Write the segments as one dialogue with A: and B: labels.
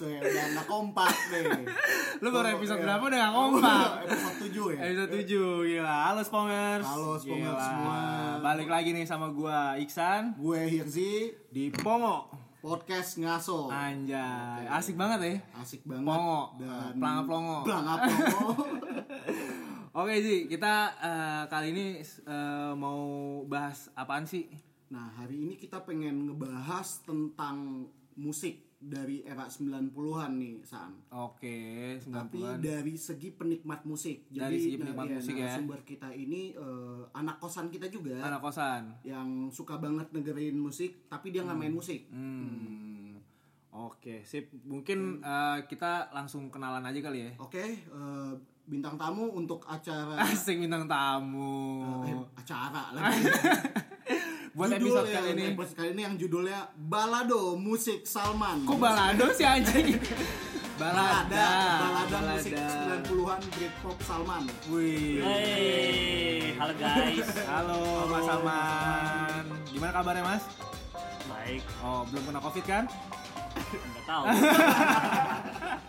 A: nggak kompak nih.
B: Lu baru episode
A: Iya.
B: berapa udah nggak kompak?
A: episode 7 ya.
B: Episode 7, gila. Halo Spongers.
A: Halo, Spongers
B: Gila.
A: semua.
B: Balik lagi nih sama gua Iksan
A: Gue Hirzi
B: di Pongo.
A: podcast ngaso.
B: Anjay, asik banget ya.
A: Asik banget
B: Pongo.
A: dan
B: Pelangap-pelongo.
A: Pelangap-pelongo.
B: Oke sih, kita eh, kali ini eh, mau bahas apaan sih?
A: nah, hari ini kita pengen ngebahas tentang musik dari era 90-an nih, Sam.
B: Oke,
A: Tapi
B: 90-an.
A: dari segi penikmat musik. Jadi
B: Dari segi penikmat musik ya.
A: Sumber kita ini eh, anak kosan kita juga.
B: Anak kosan.
A: yang suka banget negerin musik tapi dia nggak main musik.
B: Hmm. Oke, sip. Mungkin eh, kita langsung kenalan aja kali ya.
A: Oke, eh, bintang tamu untuk acara
B: Asik bintang tamu.
A: eh, acara lagi.
B: Buat
A: Judul ya,
B: episode kali
A: yang-
B: ini.
A: episode kali ini yang judulnya Balado Musik Salman.
B: Kok balado sih anjing? balada.
A: Balada, balada, musik 90-an Britpop Salman.
B: Wih.
C: Hey, halo guys.
B: Halo, Mas Aman. Gimana kabarnya, Mas?
C: Baik,
B: Oh, belum kena Covid kan?
C: nggak tahu.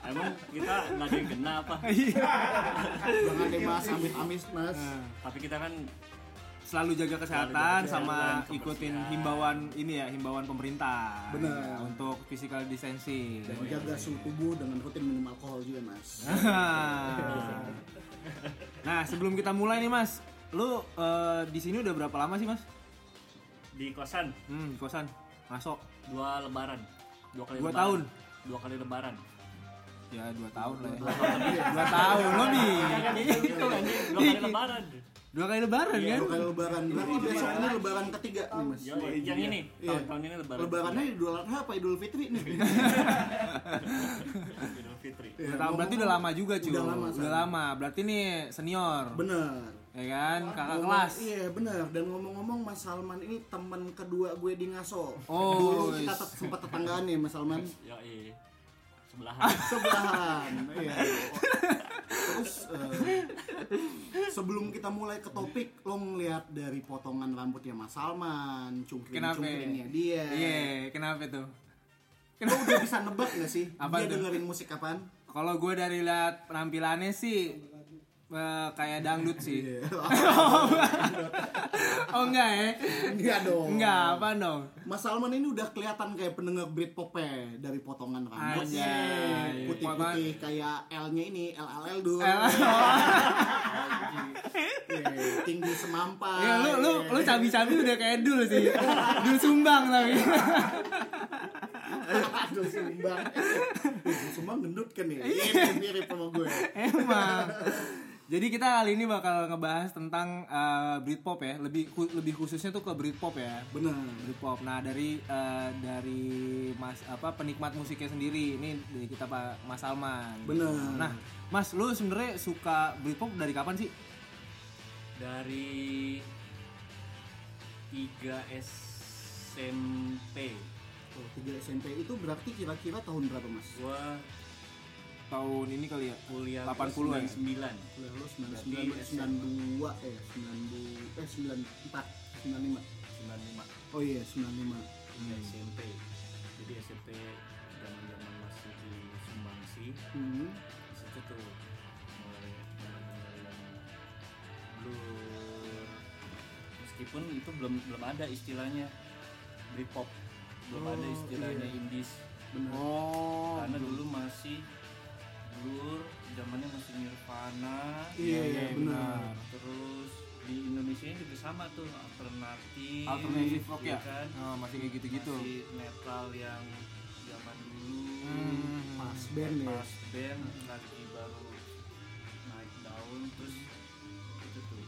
C: Emang kita nggak ada yang kena apa?
A: Jangan dibahas amit-amit, Mas.
B: Nah.
C: Tapi kita kan
B: Selalu jaga kesehatan
C: Selalu jaga
B: sama
C: kesehatan,
B: ikutin
C: kebersihan.
B: himbauan ini ya, himbauan pemerintah.
A: Bener.
B: Ya, untuk physical distancing.
A: Dan jaga suhu tubuh dengan rutin minum alkohol juga, Mas.
B: nah, sebelum kita mulai nih, Mas. Lu eh, di sini udah berapa lama sih, Mas?
C: di kosan
B: Hmm, kosan. Masuk.
C: dua lebaran, dua kali
B: Dua
C: lebaran.
B: tahun.
C: dua kali lebaran.
B: Ya, 2 tahun lah ya. dua tahun lebih
C: Gitu kan, dua kali lebaran.
B: dua kali lebaran
C: Iya,
B: kan
A: Kalau kayak lebaran, berarti besok ini lebaran ketiga nih, Mas.
C: Yo, yang ini
A: Iya.
C: tahun, tahun ini lebaran.
A: Lebarannya Idul Adha apa Idul Fitri nih?
C: Iya, Idul Fitri.
B: Dua Iya. tahun, berarti udah lama juga cuy
A: Udah lama, San.
B: lama. berarti nih senior
A: Bener.
B: ya kan kakak
A: Ngomong-
B: kelas
A: Iya benar. Dan ngomong-ngomong Mas Salman ini teman kedua gue di ngaso.
B: Oh,
A: Dulu
B: is.
A: kita tet- sempat tetanggaan ya Mas Salman.
C: Yo, iya. Sebelahan.
A: Sebelahan. iya. Terus eh, sebelum kita mulai ke topik, lo ngeliat dari potongan rambutnya Mas Salman,
B: kenapa
A: cungkring-cungkringnya dia.
B: iya kenapa tuh
A: Lo udah bisa nebak gak sih
B: Apa
A: dia
B: tuh?
A: dengerin musik kapan?
B: kalau gue dari lihat penampilannya sih eh, kayak dangdut
A: Iya.
B: sih oh enggak ya
A: Enggak dong.
B: enggak apa dong
A: Mas Salman ini udah kelihatan kayak pendengar Britpop ya dari potongan rambutnya
B: Anjay.
A: putih-putih kayak L-nya ini LLL dulu. Iya, tinggi semampai.
B: Ya lu lu
A: iya.
B: lu cabi-cabi udah kayak dul sih. Dul sumbang tapi.
A: Aduh, sumbang. Eh, sumbang gendut kan ya? Iya, mirip sama gue.
B: Emang. Jadi kita kali ini bakal ngebahas tentang eh, Britpop ya, lebih khu- lebih khususnya tuh ke Britpop ya.
A: Bener.
B: Britpop. Nah, dari eh, dari Mas apa penikmat musiknya sendiri. Ini dari kita Pak Mas Salman.
A: Bener.
B: Nah, Mas, lu sebenarnya suka Britpop dari kapan sih?
C: Dari 3 SMP
A: Oh, 3 SMP itu berarti kira-kira tahun berapa, Mas?
C: gua
B: Tahun ini kali ya.
C: kuliah
B: 80 ya?
C: 99
A: Kuliah lu 99, 92, eh, 92, eh, 94, 95.
C: 95
A: Oh iya, 95.
C: kuliah SMP jadi SMP zaman zaman masih di Sumbangsi
A: Hmm.
C: di situ tuh mulai mulai yang blur meskipun itu belum belum ada istilahnya Britpop belum ada
A: Oh,
C: istilahnya
A: iya.
C: Indies
A: Bener.
B: Oh.
C: karena dulu masih blur zamannya masih Nirvana
A: Iya,
C: ya,
B: iya,
A: benar.
B: benar.
C: terus di Indonesia juga sama tuh alternatif
B: Alternatif rock
C: iya
B: ya?
A: Ah.
C: kan?
B: Oh, masih kayak gitu-gitu.
C: masih metal yang zaman dulu
B: Hmm.
A: Pas band ya.
C: pas band lagi baru naik daun terus itu tuh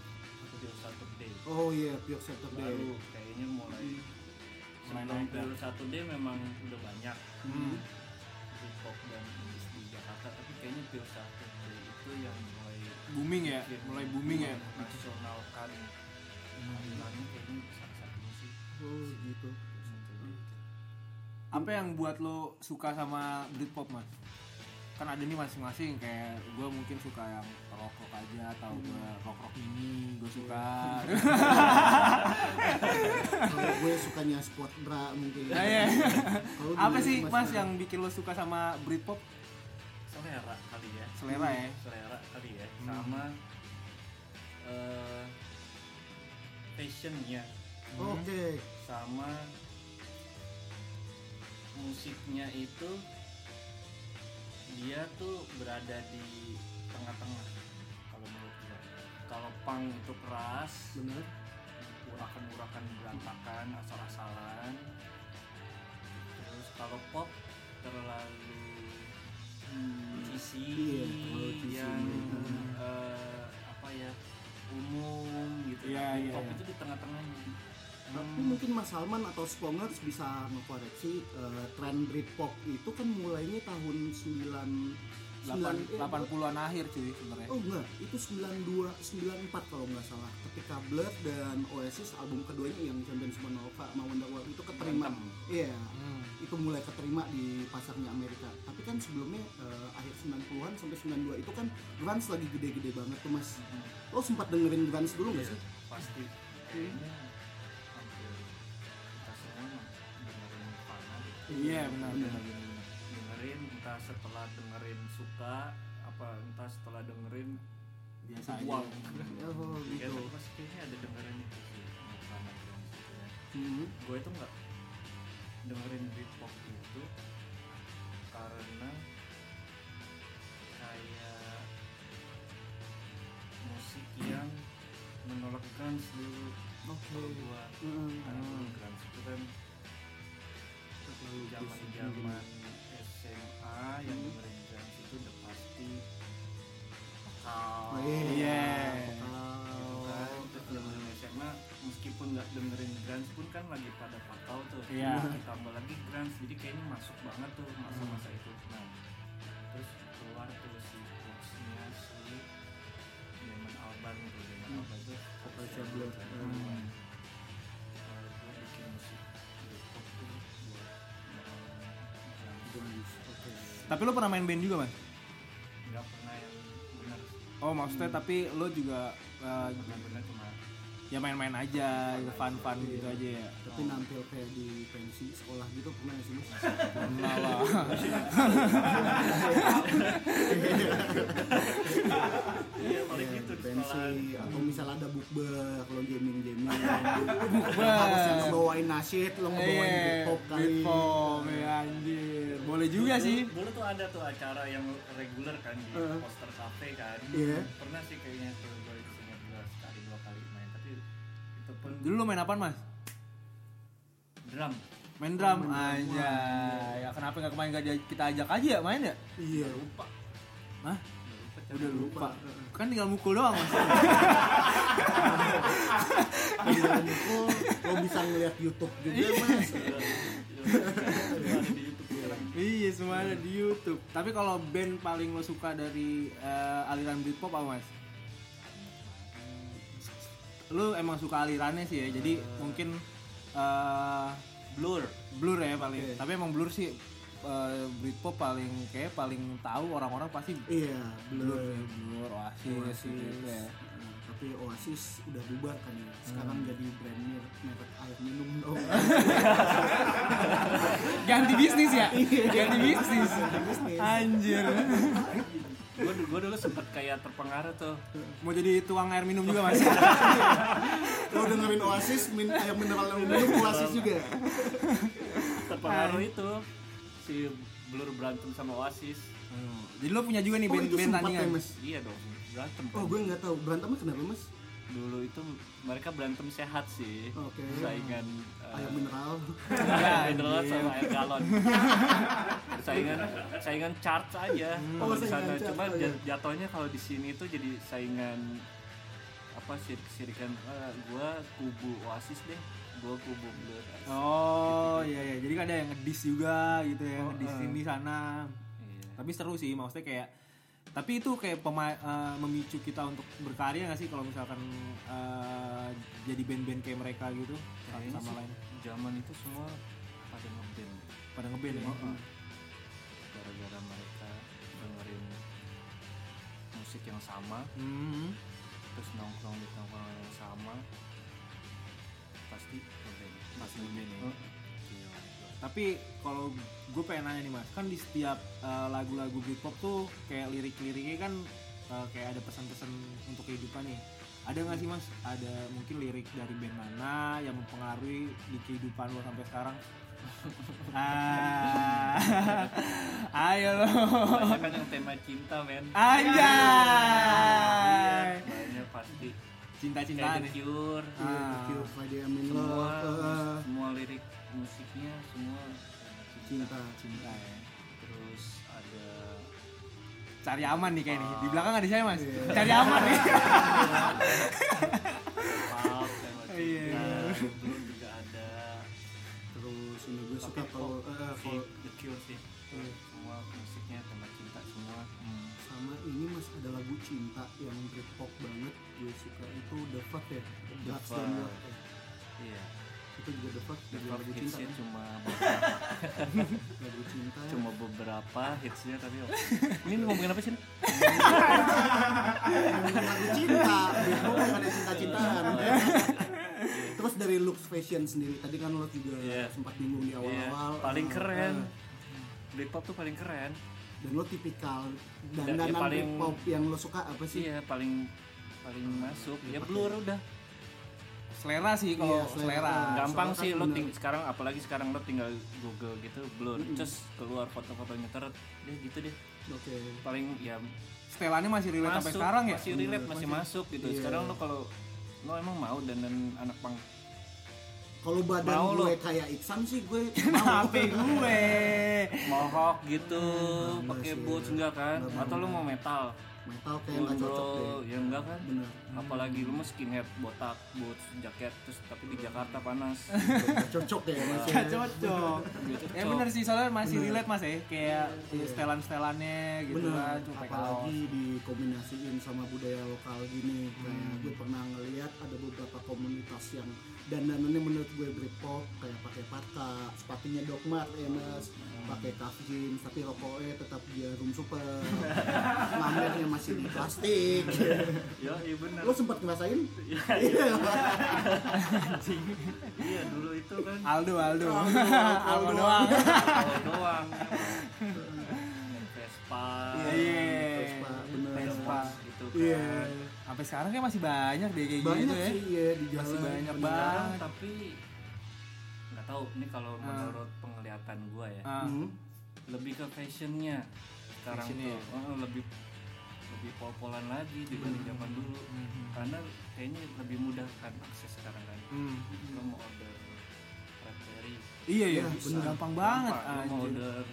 C: aku di Saturday
A: Oh iya, Pure Saturday.
C: baru kayaknya mulai
B: Mulai
C: sebelum
B: naik
C: Pure Saturday memang udah banyak
B: Hmm.
C: hip hop dan Inggris di Jakarta tapi kayaknya Pure Saturday itu yang mulai
B: Booming ya, mulai booming ya.
C: Iya.
B: Hmm.
C: nasionalkan nasionalnya kayaknya salah satunya sih
A: Oh gitu.
C: Pure Saturday itu.
B: apa yang buat lo suka sama Britpop mas? kan ada nih masing-masing kayak gue mungkin suka yang rock rock aja atau
A: Hmm.
B: gue rock rock ini gue suka
A: Kalau gue sukanya sport bra mungkin.
B: Nah, ya.
A: Kalau
B: apa
A: dulu
B: sih
A: masih
B: mas
A: ada.
B: yang bikin lo suka sama Britpop
C: selera kali ya
B: selera ya
C: selera kali ya
B: Hmm.
C: sama eh fashionnya
A: Oke.
C: sama musiknya itu dia tuh berada di tengah-tengah kalau menurut gue kalau punk itu keras
A: Benar.
C: urakan-urakan berantakan asal-asalan terus kalau pop terlalu cheesy
A: Iya, terlalu cheesy,
C: yang
A: iya.
C: eh, apa ya umum gitu
B: Iya,
C: Tapi
B: iya,
C: pop
B: iya.
C: itu di tengah-tengahnya
A: Tapi mungkin Mas Salman atau Spongers bisa mengkoreksi eh, tren Britpop itu kan mulainya tahun 9
B: Delapan-
A: 9 eh,
B: 80-an akhir cuy sebenarnya
A: Oh enggak, itu 92 94 kalau nggak salah. Ketika Blur dan Oasis album keduanya yang Champion Supernova sama Wonderwall itu keterima.
C: Berantem.
A: Iya.
B: Hmm.
A: Itu mulai keterima di pasarnya Amerika. Tapi kan sebelumnya eh, akhir 90-an sampai 92 itu kan grunge lagi gede-gede banget tuh Mas. Lo sempat dengerin grunge dulu nggak sih?
C: Iya,
A: Iya.
C: pasti kayaknya hampir kita semua dengerin Nirvana deh.
B: iya benar
A: Benar.
B: benar, benar.
C: dengerin entah setelah dengerin suka apa entah setelah dengerin
B: biasa aja
C: buang
A: Oh,
C: Ya,
A: gitu.
C: tapi pas kayaknya ada dengerin itu sih Nirvana Grand gitu ya.
A: Hmm.
C: gue itu nggak dengerin Britpop itu karena kayak musik yang menolak grunge dulu
A: Oh, Oke.
C: kalau gue
A: Hmm.
C: karena dulu grunge itu kan
A: Terlalu
C: zaman
A: cheesy.
C: zaman SMA yang dengerin grunge itu udah pasti
A: Oh,
C: metal
A: iya.
B: Iya.
C: gitu kan terus zaman SMA meskipun nggak dengerin grunge pun kan lagi pada pakau tuh
B: Iya.
C: ditambah lagi grunge jadi kayaknya masuk banget tuh masa-masa itu nah terus keluar tuh si boxnya si Damon Albarn tuh Damon
A: Hmm.
C: Albarn tuh
A: Operasi
C: Operasi
A: Blue.
C: Blue.
A: Hmm.
C: Kalau gua eh, bikin musik Britpop tuh buat melawan grunge.
A: Grunge, Oke.
B: tapi lo pernah main band juga mas
C: nggak pernah yang benar
B: oh maksudnya
A: Hmm.
B: tapi lo juga eh,
C: benar-benar cuma
B: ya main-main aja gitu, fun-fun gitu aja ya
A: iya. Tapi nampil kayak di pensi sekolah gitu pernah nggak sih Mas?
B: Pernah lah.
C: iya paling
A: Iya,
C: gitu di
A: pensi
C: sekolahan
A: atau misalnya ada bukber kalau gaming gaming harus yang
B: Bukber.
A: ngebawain nasid lo ngebawain
B: Iya,
A: Britpop kali
B: Britpop, ya anjir. Boleh juga
C: Dulu-
B: sih.
C: Dulu Iya, tuh ada tuh acara yang reguler kan di
A: Heeh.
C: poster cafe kan.
A: Iya.
C: Pernah sih kayaknya tuh gue ingat gue sekali dua kali main tapi itu pun
B: Dulu lo main apaan, Mas?
C: drum.
B: Main drum aja. Ya kenapa nggak kemarin nggak dia- kita ajak aja ya main ya?
A: iya lupa
B: Hah? Udah lupa.
A: Heeh.
B: Kan tinggal mukul doang, Mas.
C: Iya.
A: Tinggal nyekul, lo bisa ngeliat YouTube juga mas
C: Ada di YouTube sekarang.
B: iya, semua ada di YouTube. Tapi kalau band paling lo suka dari eh, aliran Britpop apa, Mas? Lu emang suka alirannya sih ya. Jadi mungkin eh,
C: Blur.
B: Blur ya
A: Oke.
B: paling. Tapi emang Blur sih eh, Britpop paling kayak paling tahu orang-orang pasti
A: iya
B: Blur,
A: belum
B: sih, Blur,
C: Iya
B: Oasis, gitu ya.
A: tapi Oasis udah bubar kan ya sekarang
C: Hmm.
A: jadi brandnya merek air minum dong
B: Ganti bisnis ya?
A: Iya.
B: Ganti bisnis.
A: bisnis.
B: Anjir.
C: Gue gue dulu sempet kayak terpengaruh tuh.
B: Mau jadi tuang air minum juga Mas.
A: lo dengerin Oasis min air mineral yang minum Oasis juga ya?
C: Terpengaruh itu si Blur berantem sama Oasis.
B: jadi lo punya juga nih
A: oh
B: band
A: itu
B: band
A: sempat
B: tandingan.
A: ya mas
C: Iya dong berantem.
A: oh gue nggak tahu berantemnya kenapa mas
C: Dulu itu mereka berantem sehat sih.
A: Oke.
C: Saingan eh,
A: air mineral
C: Enggak, mineral sama air galon. saingan saingan charts aja kalau
A: Oh,
C: di
A: saingan
C: sana
A: charts,
C: cuma
A: oh,
C: jat-
A: iya.
C: jatuhnya kalau di sini itu jadi saingan apa sih sirikan eh, gua kubu oasis deh gua kubu blur
B: Oh iya iya. Jadi ada yang ngedis juga gitu ya,
C: Oh,
B: ngedis
C: eh.
B: sini sana.
C: Iya.
B: Tapi seru sih maksudnya kayak tapi itu kayak pema- eh, memicu kita untuk berkarya nggak sih kalau misalkan eh, jadi band-band kayak mereka gitu satu
C: Kayaknya
B: sama
C: sih
B: lain
C: zaman itu semua pada ngeband
B: pada ngeband ya.
C: Heeh. gara-gara mereka dengerin musik yang sama
B: Hmm.
C: terus nongkrong di nongkrong yang sama pasti ngeband
B: Pasti ngeband ya.
C: Heeh. Gila.
B: Tapi kalau gue pengen nanya nih mas, kan di setiap eh, lagu-lagu Britpop tuh kayak lirik-liriknya kan eh, kayak ada pesan-pesan untuk kehidupan nih. Ada nggak sih mas? Ada mungkin lirik dari band mana yang mempengaruhi di kehidupan lo sampai sekarang? Ah, ayo lo,
C: Banyak kan yang tema cinta men
B: anjay,
C: Iya, Banyak pasti Kayak
B: cinta-cintaan
C: The
B: nih.
C: Cure
B: Ah.
A: Iya, Thank you, Friday I'm in
C: Semua,
A: love, eh,
C: semua lirik musiknya semua tema
A: cinta.
B: Cinta ya.
C: Terus ada
B: Cari aman nih kayak nih. Di belakang ada saya mas.
A: Ah. Iya.
B: Cari aman nih.
C: pop, tema
B: Iya.
C: cinta Itu juga ada
A: Terus ini gue
C: Tapi
A: suka kalau
C: pop
A: eh,
C: sih,
A: kalau- eh,
C: The Cure sih Semua musiknya tema cinta semua
A: sama ini mas ada lagu cinta yang Britpop banget gue suka itu The Fuck ya
C: The
A: Drugs dan
C: Fuck.
A: Love ya.
C: Iya
A: itu juga The Fuck
C: The
A: juga
C: Pop
A: lagu cinta
C: hitsnya
A: kan?
C: cuma beberapa
A: lagu cinta ya.
C: Cuma beberapa hitsnya tapi Ini ngomongin apa sih? Nek?
A: lagu cinta Britpop bukan ada cinta-cintaan
C: Oh, iya.
A: terus dari looks fashion sendiri tadi kan lo juga
C: Iya.
A: sempat bingung di
C: Iya,
A: awal-awal
C: paling
A: Eh,
C: keren.
A: eh,
C: Britpop tuh paling keren.
A: dan lo tipikal dan
C: Dan yang Iya, paling-
A: Britpop yang lo suka apa sih
C: Iya, paling paling masuk. Ya blur udah.
B: Selera sih kalau
A: Iya, selera.
B: selera.
C: Gampang
A: soalnya
C: sih
A: kan
C: lo
A: bener.
C: ting- sekarang apalagi sekarang lo tinggal Google gitu blur. Terus keluar foto-fotonya teret. Deh gitu deh.
A: oke
C: Paling ya
B: Stelannya masih relate sampai
C: masuk,
B: sekarang ya?
C: masih relate, masih masuk gitu.
A: Iya.
C: Sekarang lo kalau lo emang mau dan dan anak pang
A: kalau badan
C: Mau lo.
A: gue kayak Iksan sih gue mau
B: HP gue.
C: mohok gitu, pakai
A: sih.
C: boots enggak kan? Atau lo mau metal?
A: metal kayak nggak cocok deh
C: Gondrol, ya enggak kan?
A: bener
B: Hmm.
C: apalagi lu mah skinhead botak boots jaket terus tapi di Jakarta panas Gitu
A: Nggak cocok ya mas ya.
B: Gak cocok. Ya bener sih soalnya masih relate mas ya kayak stelan-stelannya gitu kan
A: bener
B: cuma pakai kaos.
A: apalagi dikombinasiin sama budaya lokal gini kayak
B: Hmm.
A: gue pernah ngeliat ada beberapa komunitas yang dandanannya menurut gue Britpop kayak pakai parka sepatunya Doc Mart ya mas
B: Hmm.
A: pakai cuff jeans tapi rokoknya tetap jarum super ngamernya masih di plastik
C: ya iya benar
A: lo sempat ngerasain iya
C: iya dulu itu kan
B: Aldo, Aldo, Aldo doang.
C: kalau doang ya, Naik iya. Vespa
B: Iya.
A: Vespa, bener
B: Vespa.
C: gitu kan
A: iya
B: Sampai sekarang kayak masih banyak deh kayak
A: banyak
B: gitu ya.
A: sih ya di jalan
B: Masih banyak
A: bener.
C: Sekarang
B: banget.
C: tapi nggak tahu ini kalau menurut penglihatan gua ya
B: Ah,
A: Hmm.
C: lebih ke fashionnya sekarang
B: Fashionnya ya?
C: tuh eh, lebih lebih pol-polan lagi dibanding
B: Hmm.
C: zaman dulu karena kayaknya lebih mudah kan akses sekarang kan
B: hmm.
C: lo mau order Red Berry
B: Iya ya,
A: Iya,
B: bisa.
A: bener.
B: gampang banget. Ah,
C: Gampang. Lu mau
B: anjir.
C: order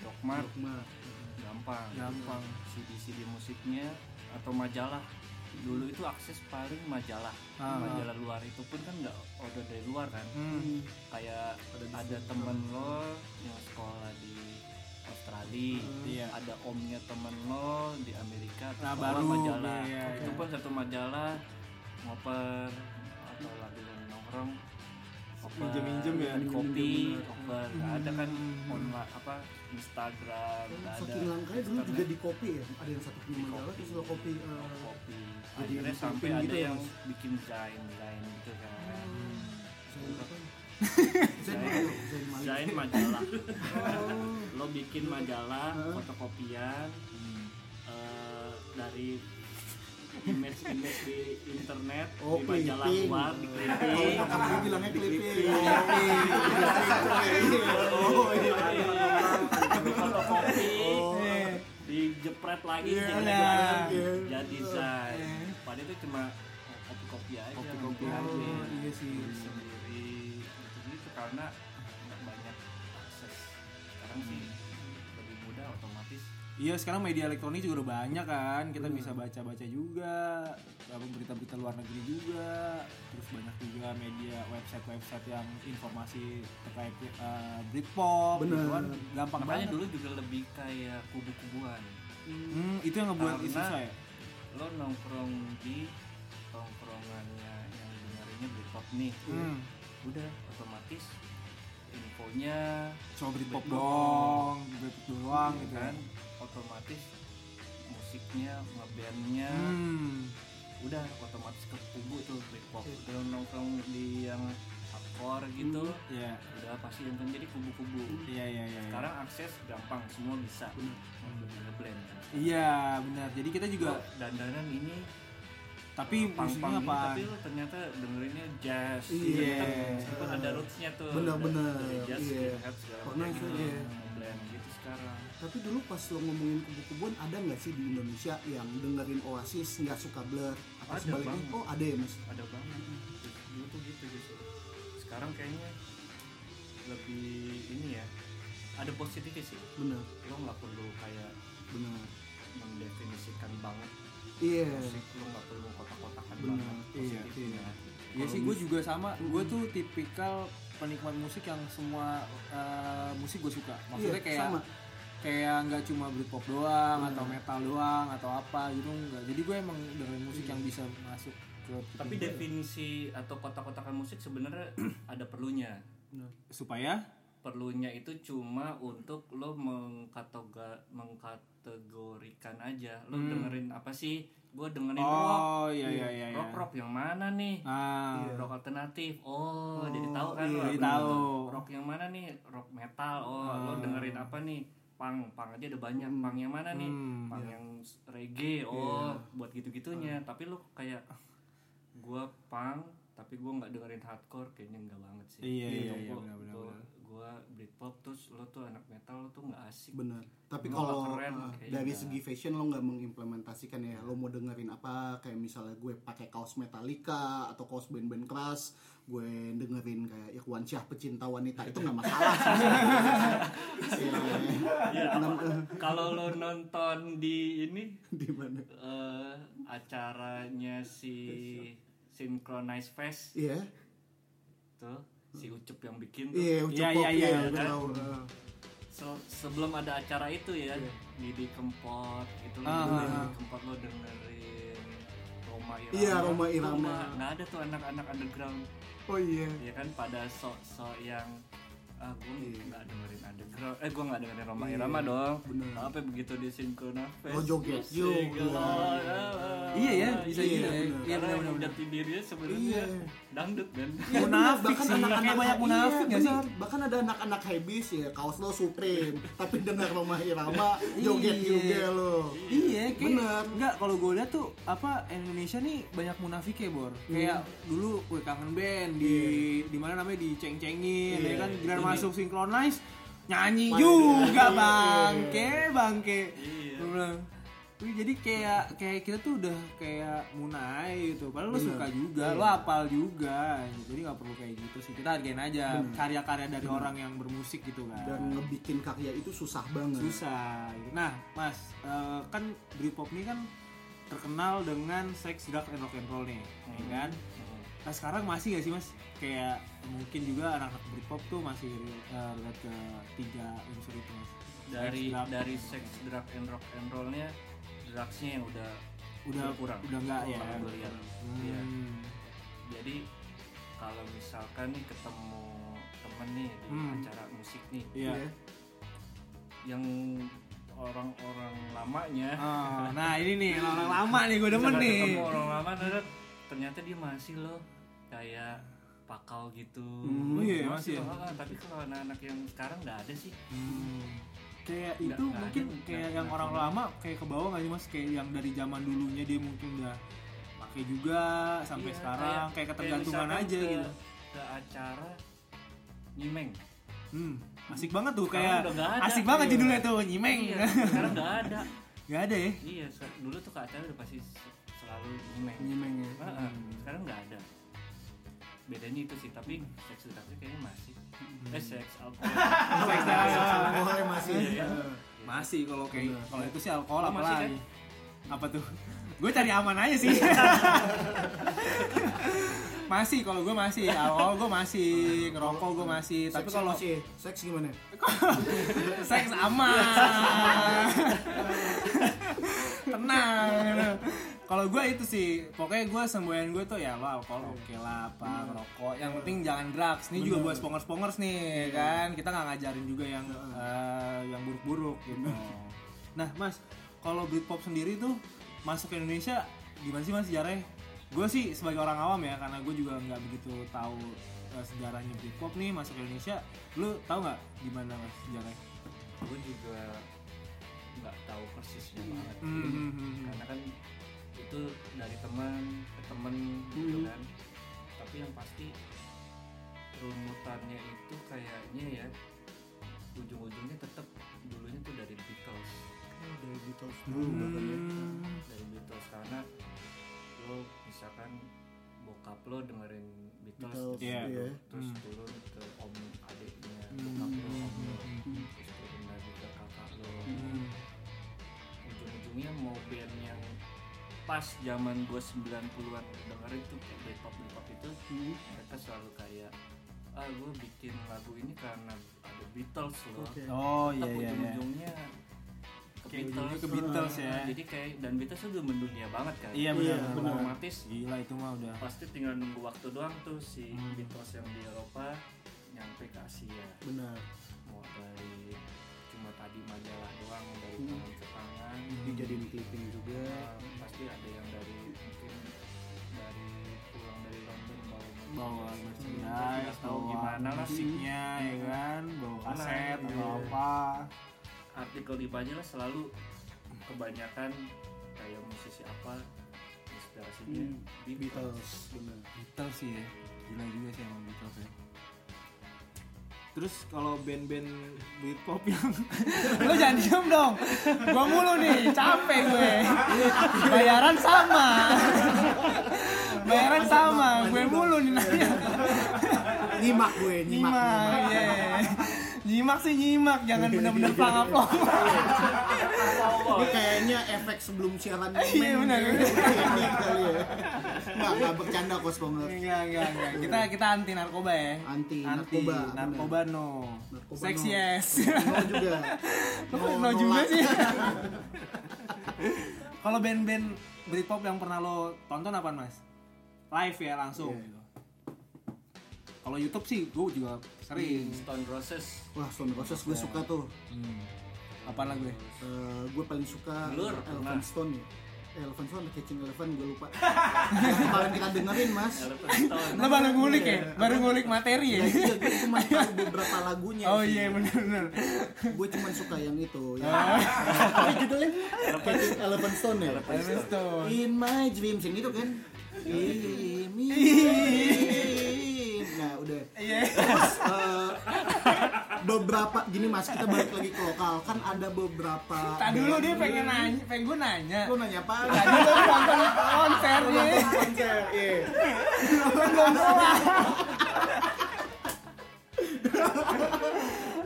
C: Doc Mart,
A: Doc Mart.
C: gampang
B: Gampang.
C: CD CD musiknya atau majalah dulu itu akses paling majalah
B: Ah.
C: majalah luar itu pun kan nggak order dari luar kan
B: Hmm.
C: kayak ada
B: Iya.
C: temen lo yang sekolah di Australia
B: Iya.
C: ada omnya temen lo di Amerika
B: Nah,
C: bawa
B: baru,
C: majalah
B: iya,
C: itu
B: iya.
C: pun satu majalah ngoper atau lagi nongkrong oper,
B: Minjem-minjem ya,
C: minjem kopi
A: minjem-minjem.
C: oper Nggak ada kan online apa Instagram nggak ada
A: Saking langkanya dulu
C: Instagram,
A: juga di kopi ya, ada yang satu punya majalah terus lo kopi eh,
C: kopi
A: Jadi
C: akhirnya
A: bikin
C: sampai
A: pin
C: ada
A: gitu ya,
C: yang
A: Mas? Hmm.
C: bikin zain zain gitu kan
A: Zain apa? ya? Zain apa? Zain Oh. Malik.
C: Desain majalah. lo bikin majalah fotokopian
B: Hmm.
C: eh, dari image-image di internet
A: Oh,
C: di majalah
A: clipping.
C: luar di
A: Kalau
C: clipping.
A: nyokap gue bilangnya clipping.
B: Iya.
C: Oh, iya, iya. Di fotokopi dijepret lagi
A: Iya,
C: jadi
B: nah.
A: iya.
C: jadi,
A: Iya.
C: jadi desain. Padahal itu cuma kopi-kopi aja. Oh,
B: Kopi-kopi
C: ngebuat
B: aja.
C: sendiri,
B: Iya sih.
C: bikin sendiri gitu-gitu karena nggak banyak akses. Sekarang sih lebih mudah otomatis
B: Iya sekarang media elektronik juga udah banyak kan kita bisa baca-baca juga apa, berita-berita luar negeri juga terus banyak juga media website-website yang informasi terkait eh, Britpop
A: Bener.
B: gitu kan. gampang
C: makanya
B: banget
C: dulu juga lebih kayak kubu-kubuan
B: Hmm, itu yang ngebuat
C: Karena-
B: itu ya? saya
C: lo nongkrong di tongkrongannya yang dengerinnya Britpop nih
B: hmm,
C: udah otomatis infonya
B: cuma Britpop
C: Britpop
B: doang Britpop doang
C: ya
B: gitu
C: kan
B: kan
C: otomatis musiknya ngebandnya
B: hmm.
C: udah otomatis ke kubu tuh Britpop udah nongkrong di yang apa hardcore gitu
B: Iya,
C: udah pasti nonton jadi kubu-kubu
B: iya, iya, iya.
C: sekarang akses gampang semua bisa
A: Bener.
C: Udah ngeblend
B: Iya, benar. Jadi kita juga
C: dandanan ini eh,
B: tapi
C: pang-pang
B: musiknya
C: ini,
B: apa?
C: tapi lo ternyata dengerinnya jazz
A: Iya.
C: sempat ada rootsnya tuh
A: Bener-bener,
C: dari jazz
A: iya.
C: hip-hop, segala
A: Pernah
C: macam
A: tuh,
C: gitu
A: iya.
C: ngeblend gitu sekarang
A: Tapi dulu pas lo ngomongin kubu-kubuan ada nggak sih di Indonesia yang dengerin Oasis nggak suka Blur atau
C: Ada,
A: sebaliknya?
C: Bang.
A: Oh ada ya mas.
C: ada banget dulu tuh gitu justru sekarang kayaknya lebih ini ya ada positifnya sih
A: Bener,
C: lo nggak perlu kayak
A: bener.
C: mendefinisikan banget
A: Iya.
C: musik lo nggak perlu kotak-kotakan
A: Bener,
C: banget
B: iya,
C: positifnya.
B: Iya sih, gue juga sama. Gue tuh tipikal penikmat musik yang semua eh, musik gue suka. Maksudnya
A: Iya,
B: kayak
A: sama.
B: kayak nggak cuma Britpop doang
A: Iya.
B: atau metal doang atau apa gitu enggak. Jadi gue emang dengerin
A: Iya.
B: musik yang bisa masuk ke
C: tapi
B: kuping gue.
C: definisi atau kotak-kotakan musik sebenarnya ada perlunya
B: supaya
C: perlunya itu cuma untuk lo mengkatoga mengkategorikan aja lo
B: Hmm.
C: dengerin apa sih gue dengerin rock
B: oh iya iya iya. iya.
C: rock rock yang mana nih
B: Ah,
A: Iya.
C: rock alternatif oh,
A: Oh,
C: jadi tahu kan
A: iya,
C: lo
B: jadi
C: bener
B: tahu.
C: tuh. rock yang mana nih rock metal oh lo
B: Ah.
C: dengerin apa nih pang pang aja ada banyak
A: Hmm.
C: pang yang mana nih
B: Hmm,
C: pang
A: iya.
C: yang reggae oh buat gitu gitunya tapi lo kayak gua pang tapi gua nggak dengerin hardcore kayaknya nggak banget sih
B: Iya, iya,
C: Gitu,
B: iya,
C: gua-
B: benar, benar,
C: gua-
B: benar.
C: gua Britpop terus lo tuh anak metal lo tuh nggak asik
A: Bener. Tapi
C: Nggak
A: kalau
C: keren,
A: uh,
C: kayaknya.
A: dari segi fashion lo nggak mengimplementasikan ya, lo mau dengerin apa? Kayak misalnya gue pakai kaos Metallica atau kaos band-band keras, gue dengerin kayak Irwan Syah pecinta wanita itu nggak masalah. Iya.
C: Iya,
A: Enam, eh,
C: kalau lo nonton di ini
A: Di mana?
C: eh, acaranya si Synchronize Fest
A: Iya,
C: tuh si Ucup yang bikin tuh.
A: iya,
B: Iya,
A: ucap pop,
B: iya, iya,
A: iya, gue
C: kan?
A: tahu, eh.
C: Se- sebelum ada acara itu ya
A: Iya.
C: di di Kempot gitu loh
B: Ah,
C: dengerin
B: ah, ah.
C: Kempot lo dengerin Roma Irama
A: Iya, Roma
C: Tuh
A: Irama.
C: nggak- nggak ada tuh anak-anak underground
A: Oh iya.
C: ya kan pada sok-sok yang ah gue
A: Iya.
C: nggak dengerin underground eh gue nggak dengerin Roma
A: Iya,
C: Irama dong
A: bener.
C: tapi begitu di Synchronize
A: Lo joget
C: Yo,
A: juga.
B: Oh, Iya ya, bisa
A: Iya,
B: gitu. ya.
A: benar.
B: Iya,
C: Karena
B: benar
C: yang
B: benar.
C: jati dirinya sebenarnya
A: Iya.
C: dangdut kan.
A: Iya, bener,
B: Munafik sih, kayak banyak munafik
A: iya,
B: nggak sih?
A: bener. Bahkan ada anak-anak hebis ya, kaos lo Supreme, tapi dengar Roma Irama, joget
B: Iya.
A: juga lo.
B: Iya, kayak
A: Bener.
B: enggak kalau gue lihat tuh apa Indonesia nih banyak munafik ya, Bor. Kayak dulu gue kangen band di di mana namanya diceng-cengin
A: Iya,
B: ya kan giliran
C: itu
B: masuk synchronize nyanyi
A: Main
B: juga
A: nyanyi.
B: bangke, bangke.
C: Iya.
B: Gua bilang, "Wih, jadi kayak kayak kita tuh udah kayak munai gitu. Padahal lo
A: Bener.
B: suka juga, lo apal juga. Jadi nggak perlu kayak gitu sih. Kita hargain aja karya-karya dari orang yang bermusik gitu kan
A: Dan ngebikin karya itu susah banget.
B: susah gitu. nah mas eh, kan Britpop ini kan terkenal dengan sex drug and rock and roll nih
C: Hmm.
B: ya kan nah sekarang masih gak sih mas kayak mungkin juga anak-anak Britpop tuh masih eh, relate ke tiga unsur itu mas
C: dari
B: Sex, drug, and
C: dari
B: rock
C: sex
B: and roll.
C: drug and rock and rollnya drugsnya yang udah
B: udah
C: kurang
B: udah enggak ya
C: Kalau gue lihat.
B: Hmm.
C: Iya. jadi kalau misalkan nih ketemu temen nih di
B: Hmm.
C: acara musik nih
B: Iya.
A: Iya.
C: yang orang-orang lamanya
B: Oh, nah ini nih orang lama nih gue demen
C: misalkan
B: nih
C: ketemu orang lama ternyata- ternyata dia masih loh kayak pakau gitu
A: Hmm,
B: iya, masih ya.
C: loh, ah, tapi kalau anak-anak yang sekarang nggak ada sih
B: Hmm. Kayak
C: Nggak-
B: itu
C: nggak
B: mungkin
C: ada,
B: kayak
C: nggak-
B: yang
C: nggak
B: orang
C: ada.
B: lama kayak ke bawah nggak sih mas? Kayak yang dari zaman dulunya dia mungkin udah pakai juga sampai
C: Iya,
B: sekarang kayak, ketergantungan
C: misalkan
B: aja
C: ke-
B: gitu.
C: ke acara nyimeng
B: Hmm, asik banget tuh
C: Sekarang
B: kayak
C: udah nggak ada.
B: asik banget
C: Iya.
B: judulnya tuh nyimeng.
C: iya sekarang nggak ada
B: Gak ada ya?
C: iya se- dulu tuh ke acara udah pasti se- selalu nyimeng
A: Nyimeng
B: Hmm.
A: ya.
C: Ah, ah, sekarang nggak ada bedanya itu sih tapi
B: Hmm.
C: seks tapi kayaknya masih eh seks alkohol
B: Sex drug.
A: Alkohol masih.
B: ya?
C: Iya.
B: Masih kalau kayak
A: Bener.
B: kalau itu sih alkohol
C: Lu
B: apa
C: masih,
B: lagi? Apa tuh? Gue cari aman aja sih. masih kalau gue masih alkohol gue masih ngerokok gue masih tapi
A: Seksnya
B: kalau
A: masih, seks gimana?
B: seks aman tenang kalau gue itu sih pokoknya gue semboyan gue tuh ya lo alkohol oke lah apa rokok yang penting jangan drugs ini juga buat spongers spongers nih kan kita nggak ngajarin juga yang eh, yang buruk-buruk gitu nah mas kalau Britpop sendiri tuh masuk ke Indonesia gimana sih mas sejarahnya gue sih sebagai orang awam ya karena gue juga nggak begitu tahu eh, sejarahnya Britpop nih masuk ke Indonesia lu tahu nggak gimana mas sejarahnya
C: gue juga nggak tahu persisnya banget
B: Hmm, hmm, hmm, hmm.
C: karena kan itu dari teman ke teman gitu
B: Hmm.
C: kan tapi yang pasti rumutannya itu kayaknya ya ujung-ujungnya tetap dulunya tuh dari Beatles
A: dari Beatles dulu bahkan ya.
B: Hmm.
C: dari Beatles karena lo misalkan bokap lo dengerin Beatles, gitu,
A: Beatles,
B: Iya.
A: iya.
C: terus
B: Hmm.
C: turun ke om adiknya
B: Hmm.
C: bokap lo om lo
B: Hmm.
C: terus turun lagi ke kakak lo
B: Hmm.
C: ujung-ujungnya mau band yang pas zaman gue 90-an dengerin tuh kayak Britpop Britpop itu
A: Hmm,
C: mereka selalu kayak ah gue bikin lagu ini karena ada Beatles loh
A: oke.
B: oh iya iya
C: tetap
B: iya
C: ujung-ujungnya ke
B: Kayak
C: Beatles, Nah,
B: ujungnya ke Beatles ya.
C: jadi kayak dan Beatles tuh udah mendunia banget kan
B: iya benar
A: Iya,
B: benar.
C: otomatis ya.
B: gila itu mah udah
C: pasti tinggal nunggu waktu doang tuh si
B: Hmm.
C: Beatles yang di Eropa nyampe ke Asia
A: benar
C: mau dari cuma tadi majalah doang dari
A: Hmm.
C: tangan ke tangan
A: dijadiin clipping juga
C: Nah, pasti ada yang dari mungkin dari pulang dari London bawa Hmm,
B: bawa
C: Nggak
B: merchandise
C: tahu
B: bawa
C: gimana lah sih
B: musiknya ya kan bawa
C: Gimana,
B: kaset
C: iya.
B: atau apa
C: artikel di majalah selalu kebanyakan kayak musisi apa inspirasinya
A: Hmm,
C: Beatles.
A: Beatles benar
B: Beatles sih ya gila juga sih emang Beatles ya Terus kalau band-band Britpop yang Lo jangan diem dong Gua mulu nih, capek gue Bayaran sama Bayaran sama, gue mulu nih nanya
A: nyimak gue nyimak,
B: Nyimak,
A: nyimak.
B: iya Nyimak sih nyimak, jangan bener-bener pangaplong
A: Ini kayaknya efek sebelum siaran
B: Iya,
A: momen
B: benar.
A: gitu. Ini kali ya. Nggak, nggak bercanda kos banget.
B: Enggak, enggak, enggak Kita, kita anti narkoba ya
A: Anti
B: Anti,
A: narkoba.
B: narkoba no
A: Narkoba
B: Sex
A: no.
B: yes
A: No juga.
B: Lo kok no
A: nolak.
B: juga sih? Kalau band-band Britpop yang pernah lo tonton apa mas? Live ya langsung.
A: Iya.
B: Kalau YouTube sih gue juga sering.
C: Stone Roses
A: Wah, Stone Roses gue suka tuh. Hmm.
B: Apa lagu? ya?
A: Eh, gue paling suka
C: Blur,
A: Elephant
C: pernah.
A: Stone ya. Elephant Stone, Catching Elephant, gue lupa. Yang kemarin kita dengerin mas.
C: Elephant Stone
B: Lo baru ngulik ya? Baru ngulik materi
A: Ya,
B: ya?
A: iya, gue cuma tahu beberapa lagunya.
B: Oh
A: sih.
B: iya Ah. bener-bener.
A: Gue cuma suka yang itu. Yang, Apa judulnya Catching Elephant Stone ya.
B: Terus tuh.
A: In my dreams yang itu kan. In my dreams. Nah, udah.
B: Iya.
A: Terus, eh, beberapa gini Mas, kita balik lagi ke lokal kan ada beberapa
B: Tak dulu dia pengen nanya, pengen gue nanya.
A: Lu nanya apa?
B: Tadi lo nonton konser nih.
A: Konser, iya.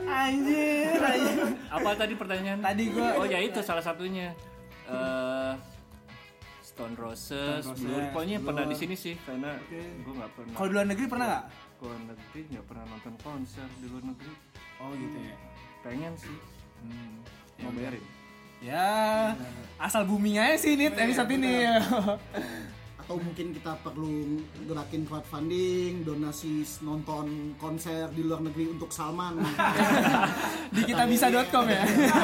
B: Anjir, anjir.
C: apa tadi pertanyaan
B: Tadi gua-
C: oh ya itu salah satunya Eh, Stone Roses,
B: Stone Roses,
C: Blur pokoknya
B: Blur.
C: pernah di sini sih karena gue nggak pernah
B: Kalau di luar negeri pernah nggak?
C: ke luar negeri nggak pernah nonton konser di luar negeri
B: Oh gitu ya.
C: pengen sih
B: Hmm.
C: mau bayarin
B: Ya, asal booming aja sih ini
A: Iya,
B: episode ini.
A: Atau mungkin kita perlu gerakin crowdfunding, donasi nonton konser di luar negeri untuk Salman.
B: Di kitabisa.com ya.
A: Iya.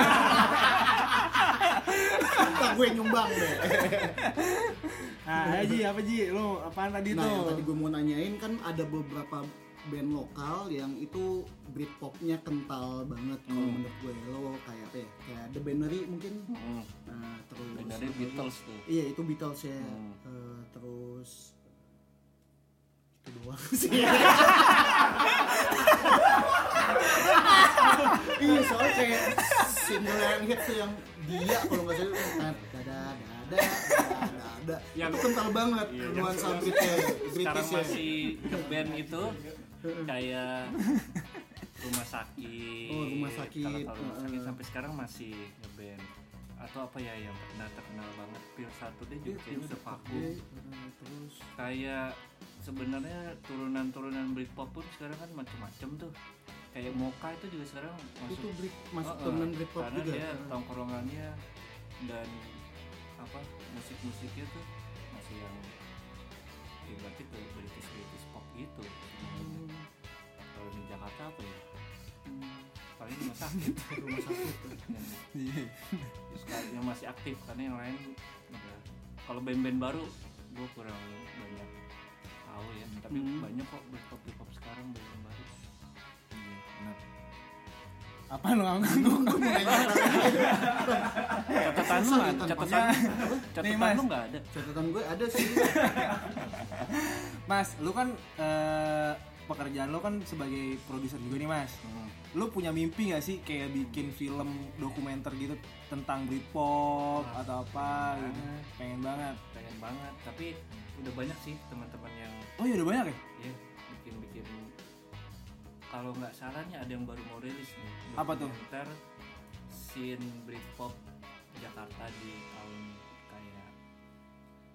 A: Entah gue nyumbang deh.
B: Nah, Ji, apa Ji? Lu apaan tadi
A: Nah, yang tadi
B: tuh?
A: gue mau nanyain kan ada beberapa band lokal yang itu Britpopnya kental banget kalau menurut gue lo kayak apa ya? Kayak The Bannery mungkin.
C: hmm.
A: Nah, terus
C: Benernya Beatles tuh
A: Iya, itu Beatles ya.
C: Hmm.
A: Eh, terus itu doang sih. Iya, soalnya kayak single yang hits tuh yang dia kalau nggak salah kan dada dada dada dada
C: Yang-
A: itu kental banget
C: Iya, yang
A: nuansa Britnya
C: sekarang
A: British ya.
C: masih ke band itu kayak rumah sakit
A: Oh, rumah sakit.
C: Kalau- kalau rumah sakit
A: Heeh.
C: sampai sekarang masih ngeband atau apa ya yang pernah terkenal banget Pil satu dia juga kayaknya udah vakum
A: Iya, eh, Iya, terus
C: kayak sebenarnya turunan-turunan Britpop pun sekarang kan macem-macem tuh kayak Moka itu juga sekarang masuk
A: itu Brit masuk
C: Oh, oh,
A: temen Britpop
C: karena
A: juga.
C: dia tongkrongannya dan apa musik-musiknya tuh masih yang ya berarti tuh British British pop gitu
A: Hmm,
C: kalau di Jakarta apa ya
A: hmm,
C: paling rumah sakit
A: rumah sakit.
C: yang, yang sekarang- yang masih aktif karena yang lain udah kalau band-band baru gue kurang banyak tahu ya tapi
A: Hmm.
C: banyak kok Britpop Britpop sekarang banyak yang baru
B: Iya, benar. Apa lo ngangguk?
C: catatan lu nggak ada catatan catatan
B: Mas.
C: lu nggak ada
A: catatan gue ada sih
B: Mas, lu kan eh, pekerjaan lu kan sebagai produser juga nih Mas.
C: Hmm,
B: Lu punya mimpi nggak sih kayak bikin film dokumenter gitu tentang Britpop atau apa? Gitu? Pengen banget.
C: pengen banget tapi udah banyak sih teman-teman yang
B: Oh ya udah banyak ya?
C: ya bikin bikin kalau nggak salah nih ada yang baru mau rilis nih
B: Apa tuh?
C: dokumenter scene Britpop Jakarta di tahun kayak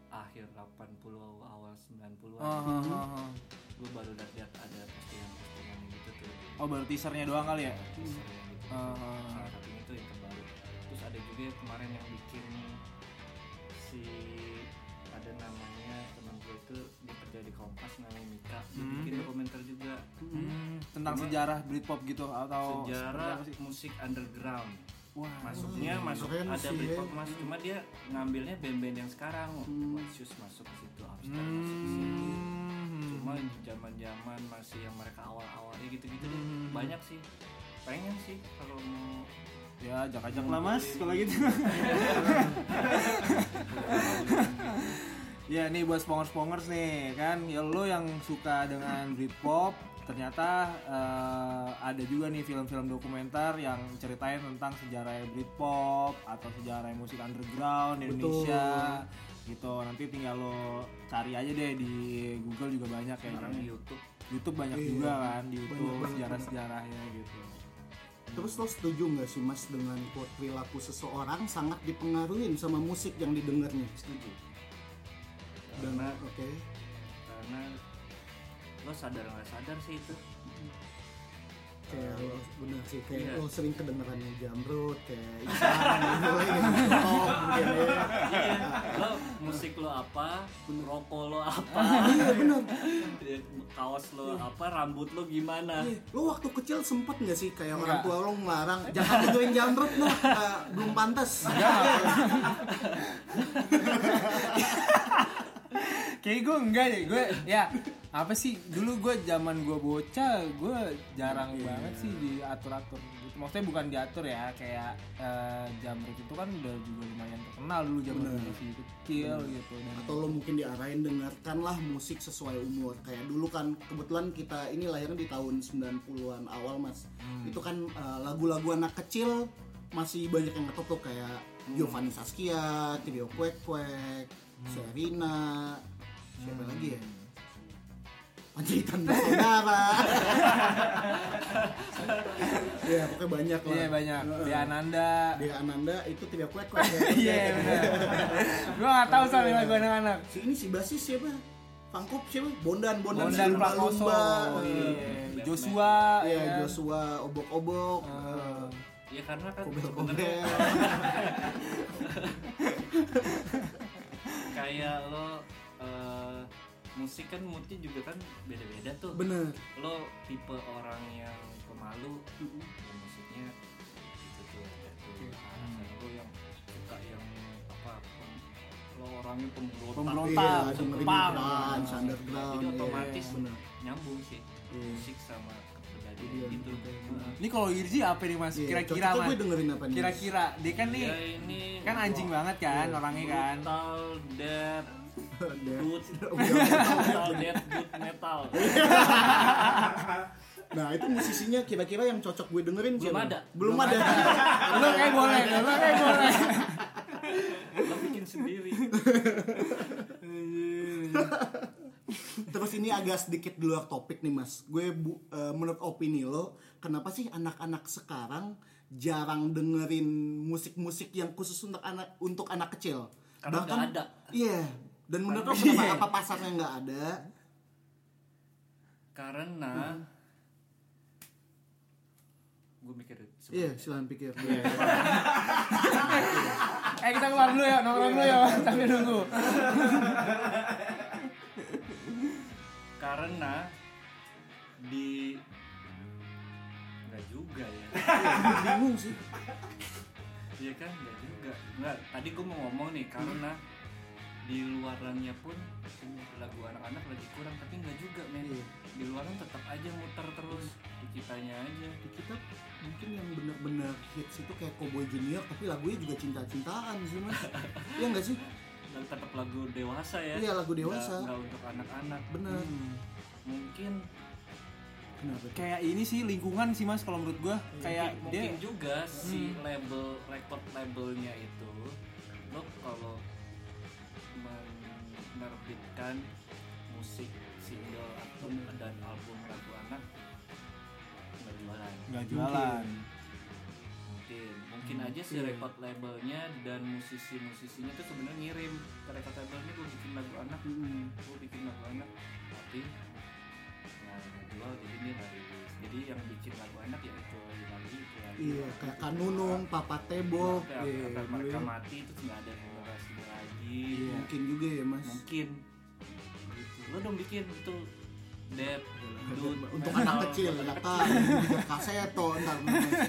C: akhir 80 awal 90-an
B: Oh, oh, oh, oh.
C: gue baru lihat ada postingan-postingan gitu tuh
B: Oh, baru teasernya doang kali ya?
C: Teaser yang gitu.
B: Oh, oh, oh.
C: salah satunya itu yang terbaru terus ada juga yang kemarin yang bikin si ada namanya teman gue itu dia kerja di Kompas namanya Mika dia
B: Hmm.
C: bikin dokumenter juga
B: Hmm, tentang
C: Cuma-
B: sejarah Britpop gitu atau
C: sejarah
B: seperti apa sih?
C: musik underground
B: Wah,
C: masuknya
A: hmm,
C: masuk
A: keren
C: ada
A: sih,
C: Britpop
A: ya.
C: masuk cuma dia ngambilnya band-band yang sekarang
A: Hmm.
C: Matius masuk ke situ Amstel masuk ke situ
B: Hmm.
C: cuma zaman zaman masih yang mereka awal awalnya gitu gitu deh
B: Hmm.
C: banyak sih pengen sih kalau mau
B: Ya, ajak-ajak lah Mas kalau gitu. Ya nih buat spongers-spongers nih kan ya lo yang suka dengan Britpop ternyata eh, ada juga nih film-film dokumenter yang ceritain tentang sejarah Britpop atau sejarah musik underground di
A: Betul.
B: Indonesia gitu nanti tinggal lo cari aja deh di Google juga banyak ya
C: sekarang di YouTube
B: YouTube banyak
A: Iya,
B: juga kan di
A: banyak
B: YouTube
A: banget.
B: sejarah-sejarahnya gitu
A: terus lo setuju nggak sih mas dengan quote perilaku seseorang sangat dipengaruhi sama musik yang didengarnya
C: setuju
A: dan
C: karena
A: oke
C: karena lo sadar nggak sadar sih itu
A: kayak lo bener sih kayak
C: Iya.
A: lo sering kedengerannya jamrut kayak Isan gitu ya Tom gitu ya
C: Iya, lo musik lo apa rokok lo apa gitu ya. Iya,
A: iya bener
C: kaos lo apa rambut lo gimana
A: Iya. lo waktu kecil sempet nggak sih kayak
C: Iya.
A: orang
B: Enggak.
A: tua lo ngelarang jangan dengerin jamrut lo eh, belum pantas
C: Iya.
B: kayak gue enggak deh gue ya apa sih dulu gue zaman gue bocah gue jarang
A: Iya.
B: banget sih diatur atur gitu maksudnya bukan diatur ya kayak eh, jamret itu kan udah juga lumayan terkenal dulu zaman
A: Bener.
B: gue masih kecil gitu dan
A: atau lo mungkin diarahin dengarkanlah musik sesuai umur kayak dulu kan kebetulan kita ini lahirnya di tahun 90-an awal mas
B: Hmm.
A: itu kan eh, lagu-lagu anak kecil masih banyak yang ngetop tuh kayak
B: Hmm.
A: Giovanni Saskia, Trio Kwek Kwek, Serina, siapa lagi ya?
B: Hmm.
A: Panjaitan Bersaudara. ya pokoknya banyak lah.
B: iya banyak di Ananda
A: Dea Ananda itu Trio Kwek Kwek. ya.
B: iya bener gue gak tau soal lagu anak-anak
A: si ini si basis siapa pangkop siapa bondan bondan,
B: Bondan
A: Lumba-
B: Prakoso
A: Lumba.
B: iya.
C: Batman.
B: Joshua
A: Iya,
B: ya kan?
A: Joshua obok-obok
B: Eh,
C: ya karena kan sebenarnya
A: kobel-kobel
C: kayak lo eh, musik kan moodnya juga kan beda beda tuh
A: bener
C: lo tipe orang yang pemalu ya musiknya gitu tuh ada tuh
A: Iya.
C: alasan lo yang suka yang apa pem- lo orangnya
A: Iya,
C: pemberontak
B: pemberontak
A: dengerin
B: pam.
A: grunge, underground
C: jadi
A: iya,
C: otomatis
A: bener
C: nyambung sih
A: Iya.
C: musik sama
A: Iya,
C: kepribadian gitu
A: bener.
C: Heeh.
B: ini kalau Irzi apa nih mas
A: Iya,
B: kira-kira
A: cocoknya
B: mas
A: gue dengerin apa nih
B: kira-kira dia kan nih
C: ya ini
B: kan anjing banget kan
A: Iya.
B: orangnya kan
C: metal death
A: Ada.
C: good
A: Iya.
C: metal death good metal
A: nah itu musisinya kira-kira yang cocok gue dengerin
C: Belum
A: siapa?
C: ada.
A: belum ada
B: lo kayak boleh lo kayak boleh
C: lo bikin sendiri
A: terus ini agak sedikit di luar topik nih mas gue bu- eh, menurut opini lo kenapa sih anak-anak sekarang jarang dengerin musik-musik yang khusus untuk anak untuk anak kecil
C: Karena nggak ada.
A: iya dan menurut lo
B: Karena-
A: kenapa
B: Iya.
A: apa pasarnya nggak ada
C: karena
A: Iya.
C: gue mikir sebentar.
A: iya silahkan pikir Iya.
B: eh kita keluar dulu ya nongkrong dulu ya sambil nunggu
C: karena di nggak juga ya
A: Iya. bingung sih
C: iya kan nggak juga nggak tadi gue mau ngomong nih karena di di luarannya pun lagu anak-anak lagi kurang tapi nggak juga men
A: Iya.
C: di luaran tetap aja muter terus di kitanya aja
A: di kita mungkin yang bener-bener hits itu kayak Cowboy Junior tapi lagunya juga cinta-cintaan sih mas iya nggak sih
C: dan tetap lagu dewasa ya
A: iya lagu
C: Nggak-
A: dewasa
C: nggak untuk anak-anak
A: bener
B: Hmm.
C: mungkin
A: kenapa tuh?
B: Kayak ini sih lingkungan sih mas kalau menurut gua kayak Iya.
C: mungkin,
B: dia
C: mungkin juga si
B: Hmm.
C: label record labelnya itu lo kalau menerbitkan musik single atau
A: Hmm.
C: dan album lagu anak nggak jualan
B: nggak jualan.
C: mungkin mungkin
B: Hmm,
C: aja si
A: iya.
C: record labelnya dan musisi-musisinya tuh sebenarnya ngirim ke record label ini gue bikin lagu anak
A: Mm-mm.
C: gue bikin lagu anak tapi nah, nggak jual jadi ini nggak rilis jadi yang bikin lagu anak ya itu lagi itu lagi
A: iya kayak Kanunung Papa Tebo
C: Sampai
A: iya,
C: akan Ya, mereka
A: iya.
C: mati itu nggak ada generasinya lagi
B: Iya.
A: mungkin juga ya mas
C: mungkin gitu. lo dong bikin itu Dep, Dut,
A: untuk
C: metal,
A: anak kecil
C: anak
A: nggak tahu juga kaseto ntar mas.
C: kecil.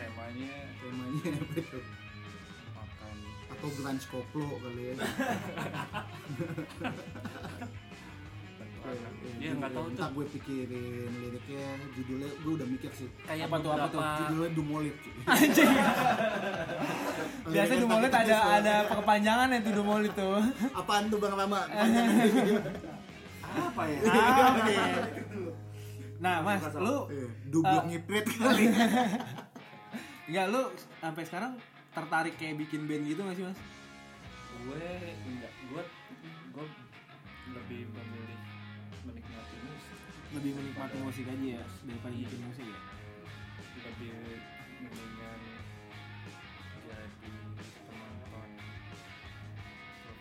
C: temanya
A: temanya apa itu
C: makan
A: atau grunge koplo kali ya
C: lagu
A: Iya,
C: anak.
A: iya,
C: dia nggak tahu
A: Ntar
C: tuh
A: gue pikirin liriknya judulnya gue udah mikir sih
C: kayak
B: Apa tuh, apa tuh?
C: beberapa-
A: judulnya Dumolit cuy.
B: Biasanya
A: Liriknya
B: Dumolit
A: tapi
B: ada
A: tuh,
B: ada kepanjangan itu Dumolit tuh.
A: apaan tuh Bang Rama?
D: apa ya
B: Nah mas, lu
A: Eh, Dublok
B: Eh.
A: ngiprit kali.
B: nggak lu sampai sekarang tertarik kayak bikin band gitu nggak sih mas?
C: gue enggak gue gue lebih memilih menikmati musik
B: Lebih menikmati musik aja ya daripada bikin musik ya.
C: Iya. lebih mendingan jadi penonton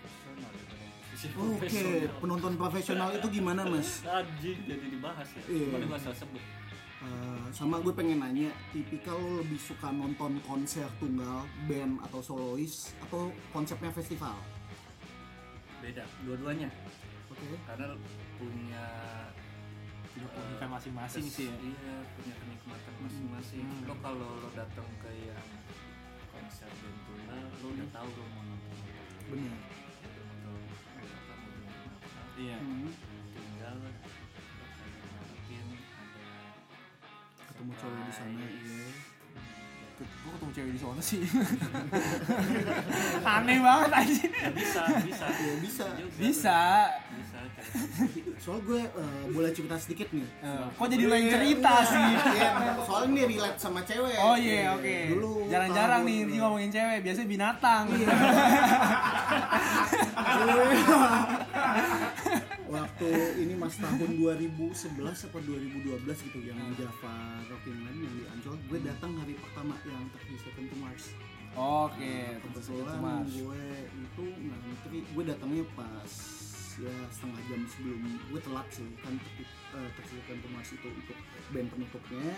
C: profesional daripada musisi
A: Oke,
C: profesional.
A: penonton profesional itu gimana, Mas?
C: Anjing jadi dibahas ya.
A: Iya.
C: Cuma nggak usah sebut.
A: Eh, sama gue pengen nanya, tipikal lo lebih suka nonton konser tunggal, band atau solois atau konsepnya festival?
C: Beda dua-duanya
A: Oke.
C: karena punya
B: Udah
C: Eh,
B: keunikan masing-masing sih ya.
C: Iya, punya kenikmatan masing-masing.
B: Hmm.
C: Lo kalau lo datang ke yang konser band tunggal, lo udah tahu lo mau nonton apa.
A: Bener.
C: Lo berapa, mau dengerin apa.
B: Iya.
A: Hmm.
C: tinggal ngarepin ada
A: Ketemu cowok di sana,
B: Ah,
A: iya.
B: Gue ketemu cewek di sana sih. Aneh banget aja.
C: Ya, bisa bisa
A: Ya, bisa.
C: Juga.
B: Bisa.
C: bisa kan.
B: iya.
A: Soal gue eh, boleh cerita sedikit nih.
B: Eh, kok jadi lo yang cerita sih?
A: Iya, soalnya ini relate sama cewek.
B: Oh iya, oke.
A: Dulu
B: Jarang-jarang
A: tahun- Iya.
B: nih Rizky ngomongin cewek, biasanya binatang.
A: waktu ini mas tahun 2011 atau 2012 gitu yang di Java Rocking Land yang di Ancol gue datang hari pertama yang terpisah Second to Mars
B: Oke, terus itu
A: kebetulan
B: Iya, mas.
A: gue itu ngantri gue datangnya pas ya setengah jam sebelum gue telat sih kan eh, terpisah Second to Mars itu untuk band penutupnya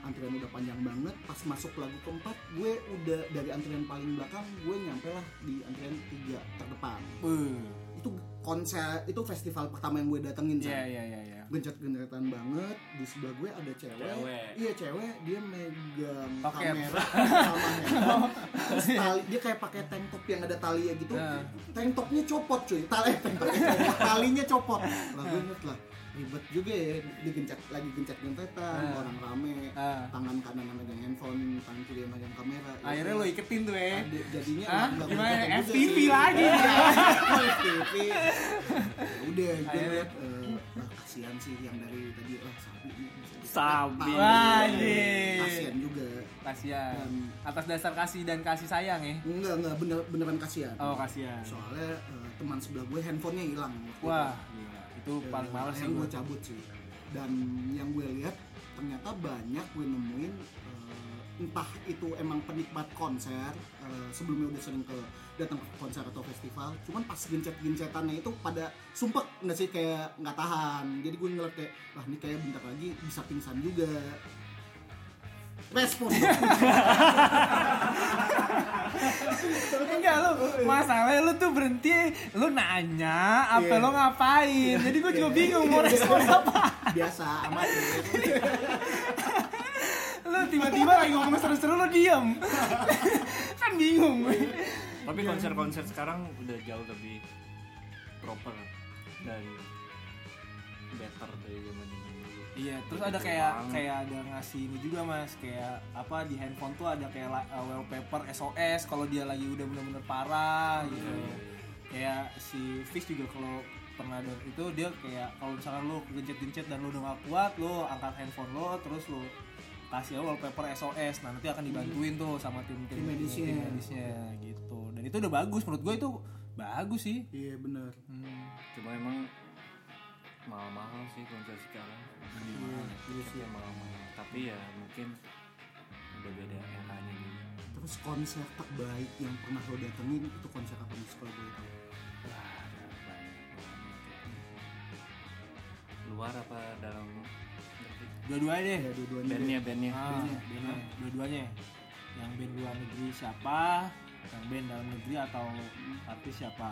A: antrian udah panjang banget pas masuk lagu keempat gue udah dari antrian paling belakang gue nyampe lah di antrian tiga terdepan
B: Beuh.
A: itu konser itu festival pertama yang gue datengin San.
B: Iya, iya, iya, iya.
A: gencet-gencetan banget di sebelah gue ada cewek,
C: Cewek.
A: iya cewek dia megang
B: Paket.
A: kamera sama handphone. Terus tali- dia kayak pakai tank top yang ada tali ya gitu
B: Nah.
A: tank topnya copot cuy tali tank topnya copot, talinya copot lah gue inget lah ribet juga ya digencet lagi gencet-gencetan
B: Nah.
A: orang rame
B: Ah,
A: tangan kanan yang megang handphone tangan kiri yang megang kamera Ya
B: akhirnya lo iketin tuh ya.
A: Ada- jadinya
B: Hah?
A: nggak
B: Gimana?
A: kelihatan juga
B: FTV
A: sih.
B: lagi.
A: Oh, FTV Ya udah gue
B: Akhirnya.
A: liat eh, ah, kasihan sih yang dari tadi ah, lah sapi ini bisa di-
C: Sabi.
A: Paham.
B: Wajib.
A: kasihan juga
B: Kasihan.
A: Dan-
B: Atas dasar kasih dan kasih sayang ya.
A: enggak enggak bener beneran kasihan
B: Oh, kasihan.
A: soalnya eh, teman sebelah gue handphonenya hilang waktu
B: Wah,
A: itu.
B: gila. itu
A: Ya,
B: paling males sih
A: akhirnya gue
B: gue.
A: cabut sih dan yang gue lihat ternyata banyak gue nemuin eh, entah itu emang penikmat konser eh, sebelumnya udah sering ke datang ke konser atau festival cuman pas gencet-gencetannya itu pada sumpek nggak sih kayak nggak tahan jadi gue ngeliat kayak wah ini kayak bentar lagi bisa pingsan juga respon
B: Enggak
A: Oh,
B: lo,
A: iya.
B: masalahnya lo tuh berhenti, lo nanya, apa
A: Iya.
B: lo ngapain? Jadi gue juga bingung mau respon apa.
A: biasa amat ya.
B: Lo tiba-tiba lagi ngomong seru-seru lo diem, kan bingung.
A: Iya.
D: tapi konser-konser sekarang udah jauh lebih proper dan better dari zaman zaman dulu
B: Iya, terus ada kayak kayak ada ngasih ini juga mas, kayak apa di handphone tuh ada kayak la- uh, wallpaper SOS kalau dia lagi udah bener-bener parah
C: Iya,
B: gitu. Kayak si Fish juga kalau pernah ada itu dia kayak kalau misalkan lu gencet-gencet dan lu udah gak kuat, lu angkat handphone lo terus lu kasih wallpaper SOS. Nah, nanti akan dibantuin tuh sama tim-tim
A: Hmm. Tim medisnya.
B: tim medisnya gitu. Dan itu udah bagus menurut gue itu bagus sih.
A: Iya benar.
B: Hmm.
C: cuma emang mahal-mahal sih konser sekarang
A: Iya sih.
C: tiketnya mahal-mahal tapi ya mungkin udah beda eranya juga
A: Terus konser terbaik yang pernah lo datengin itu konser apa nih kalau boleh tahu?
C: Wah, ada banyak banget. luar apa dalam
B: Dua-duanya deh.
A: Ya dua-duanya.
C: Eh, bandnya
A: deh.
C: bandnya
B: Iya, Ah,
A: Bandnya.
B: bandnya. dua-duanya ya? yang band luar negeri siapa yang band dalam negeri atau artis siapa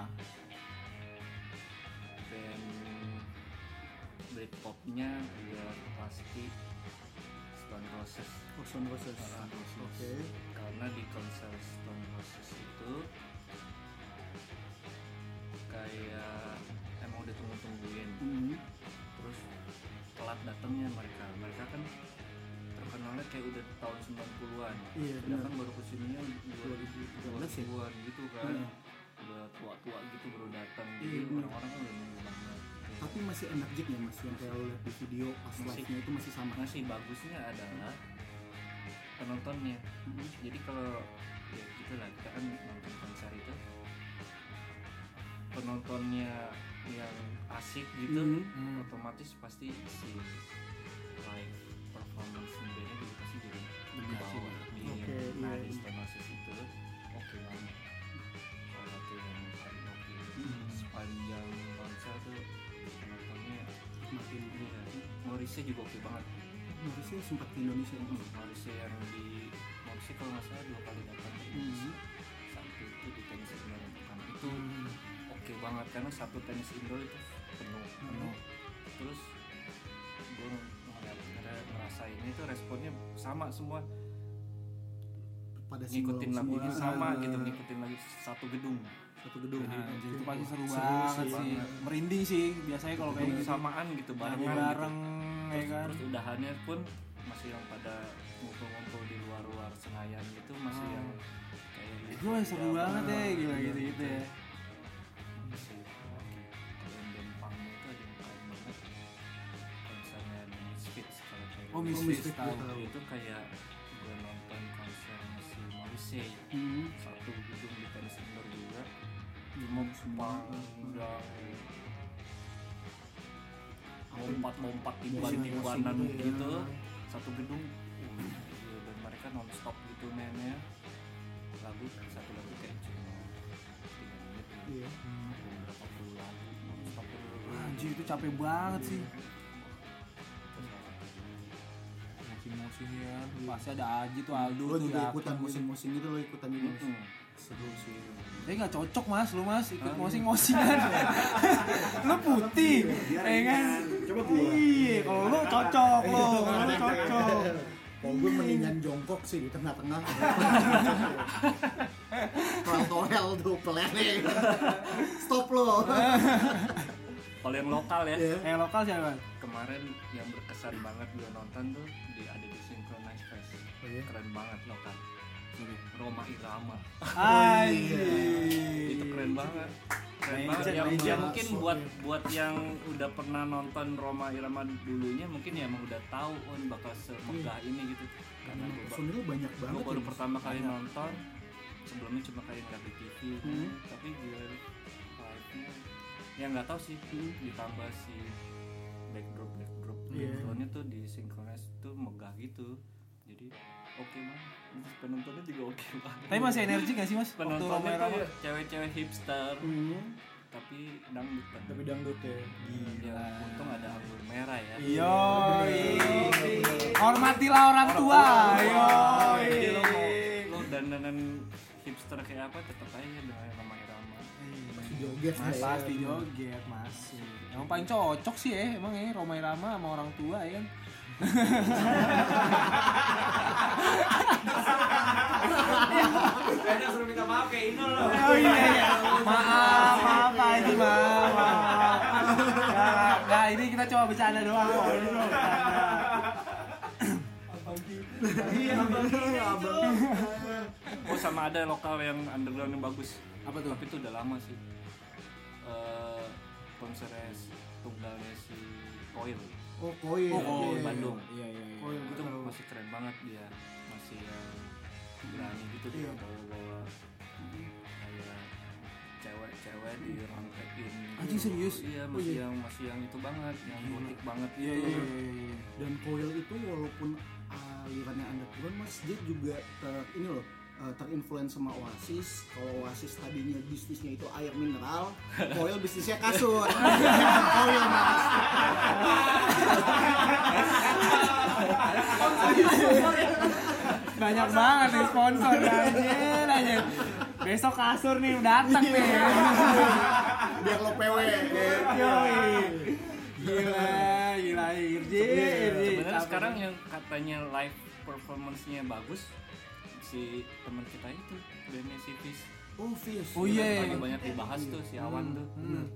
C: band Britpopnya udah pasti Stone Roses
A: Orson Welles.
C: Stone Roses.
A: ya? Oke.
C: karena di konser Stone Roses itu kayak emang udah tunggu-tungguin
A: Hmm.
C: terus telat datangnya mereka mereka kan terkenalnya kayak udah tahun 90-an
A: Iya,
C: Sedangkan
A: benar.
C: kan baru kesininya
A: 2013 ya?
C: 2000-an gitu kan
A: Iya.
C: udah tua-tua gitu baru datang
A: Iya,
C: jadi
A: benar.
C: orang-orang kan udah nunggu banget
A: Tapi masih enak jig ya mas yang kayak lo lihat di video pas
C: Masih.
A: live-nya itu masih sama.
C: masih bagusnya adalah penontonnya jadi kalau ya gitulah kita kan nonton konser itu penontonnya yang asik gitu
A: Mhm.
B: Hmm.
C: otomatis pasti si live performance bandnya juga pasti jadi lebih
B: Bagus
C: bawah Iya.
A: Oke,
C: nah
A: iya.
C: di stenosis itu oke banget salah satu yang paling oke
A: Mhm.
C: sepanjang konser tuh penontonnya
A: Makin
C: iya Morrisnya juga oke banget
A: Marisnya sempat ke Indonesia
C: Hmm.
A: ya, Mas?
C: Morrisnya yang di Morrisnya kalau nggak salah dua kali datang ke Indonesia satu itu di tenis indoor yang pertama itu oke banget karena satu tenis indoor itu penuh penuh terus gue ngerasainnya itu responnya sama semua
A: Pada
C: ngikutin
A: simbol-
C: lagunya
A: simbol-
C: sama
A: eh,
C: gitu ngikutin lagu satu gedung
A: Satu gedung.
B: Nah,
A: Oke.
B: jadi itu pasti seru,
A: Seru
B: banget
A: sih.
B: sih merinding sih biasanya kalau kayak gitu
C: kesamaan gitu
B: nyanyi
C: barengan
B: bareng
C: gitu.
B: ya
C: terus,
B: kan
C: terus udahannya pun masih yang pada ngumpul-ngumpul di luar-luar Senayan gitu masih
B: Ah.
C: yang kayak
B: itu mah seru banget ya gila gitu gitu ya
C: masih oke kalau yang band punk itu ada yang keren banget konsernya di Misfits kalau kayak gitu.
B: oh
A: Miss
B: misfit
A: Fit
B: tahu
A: juga.
C: Waktu itu kayak gue nonton konser si Morrissey
A: Hmm.
C: satu gedung di tenis indoor juga cuma semua udah lompat-lompat timban-timbanan
A: Masing-masing Iya, gitu ya.
C: gitu satu gedung uh, gila. dan mereka non-stop gitu mainnya lagu satu lagu kayak cuma tiga menit gitu.
A: Iya.
B: Hmm.
C: Ada beberapa puluh lagu non-stop gitu.
B: anjir itu capek banget sih
C: Terus
B: musim musim ya pasti ada Aji tuh Aldo
A: Lo
B: tuh
A: juga
B: yakin
A: ikutan
B: gitu.
A: musim-musim gitu lo ikutan juga. Mas?
C: Mm-mm.
A: Seru sih.
B: Tapi nggak cocok mas, lu mas
E: Ah,
B: ikut
E: iya.
B: ngosing-ngosingan Lu putih, ya kan?
E: Coba gua. Iya.
B: Iya, kalau lu cocok lu, kalau lu cocok
A: Kalau gue mendingan jongkok sih di tengah-tengah. Torel tuh pelene. Stop lo.
C: kalau yang lokal ya
A: Iya.
B: Eh, lokal siapa?
E: Oh,
C: kemarin yang berkesan banget gue nonton tuh di ada di Synchronize Fest Iya, keren banget lokal Roma Irama
E: iya.
A: Iya.
B: Anjir
C: itu keren banget
B: Iya,
C: keren
B: Legend,
C: banget yang,
B: legend.
C: yang mungkin buat buat yang udah pernah nonton Roma Irama dulunya mungkin ya emang udah tahu oh ini bakal semegah
B: Iya.
C: ini gitu karena gue ba-
A: Personil banyak
C: gue
A: banget.
C: baru
A: ya.
C: pertama kali nonton sebelumnya cuma kayak ngeliat di TV tapi gue vibe-nya ya nggak tahu sih ditambah si backdrop backdrop
A: Iya.
C: backgroundnya tuh di synchronize tuh megah gitu jadi oke banget Terus penontonnya juga oke banget
B: Tapi masih energi gak sih mas? Waktu
C: penontonnya
B: Romero
C: tuh ya cewek-cewek hipster
A: Hmm.
C: tapi dangdutan
E: Tapi dangdut ya.
C: ya untung ada anggur merah ya
B: Yo,
E: Iya.
B: hormatilah orang tua. Yo,
C: jadi
E: Iya.
C: lo mau lo dandanan hipster kayak apa tetap aja dengan nama irama
A: Masih joget
E: Iya.
B: Mas
A: ya.
B: pasti joget mas. Emang paling cocok sih ya, emang ya Roma Irama sama orang tua ya kan.
E: Banyak suruh minta maaf kayak Inul loh.
B: Oh iya iya. Maaf, maaf Pak Haji, maaf. maaf. Nah, nah, ini kita cuma bercanda doang kok. ini cuma bercanda.
F: Iya, abang ini
A: Abang.
C: oh sama ada lokal yang underground yang bagus
B: Apa tuh?
C: tapi itu udah lama sih Eh konsernya si- tunggalnya si Coil
A: Oh, koin.
B: Oh,
A: Iya.
C: Coil Bandung
B: Iya, iya, iya.
A: Koin gue
C: itu
A: tahu.
C: masih keren banget dia masih yang berani gitu dia
A: Iya.
C: bawa bawa kayak cewek-cewek di rangkekin
B: Anjing, serius?
C: iya
A: Oh,
C: masih
A: iya.
C: yang masih yang itu banget yang
B: Gila.
C: unik banget gitu.
B: Iya, iya, iya, iya.
A: Dan koil itu walaupun ah, alirannya underground mas dia juga ter- ini loh eh, terinfluence sama Oasis. Kalau Oasis tadinya bisnisnya itu air mineral, Koil bisnisnya kasur. Koil mas.
B: Banyak banget nih sponsor ya. anjir, anjir. Besok kasur nih datang nih.
C: Iya.
A: Biar lo PW.
B: Yoi. Gila, gila, Irji, Irji.
C: sebenarnya
B: Capek
C: sekarang
B: banget.
C: yang katanya live performance-nya bagus si teman kita itu bandnya si Fish
A: Oh, Fizz.
B: Oh, iya.
C: lagi banyak dibahas tuh si Awan tuh
B: Hmm.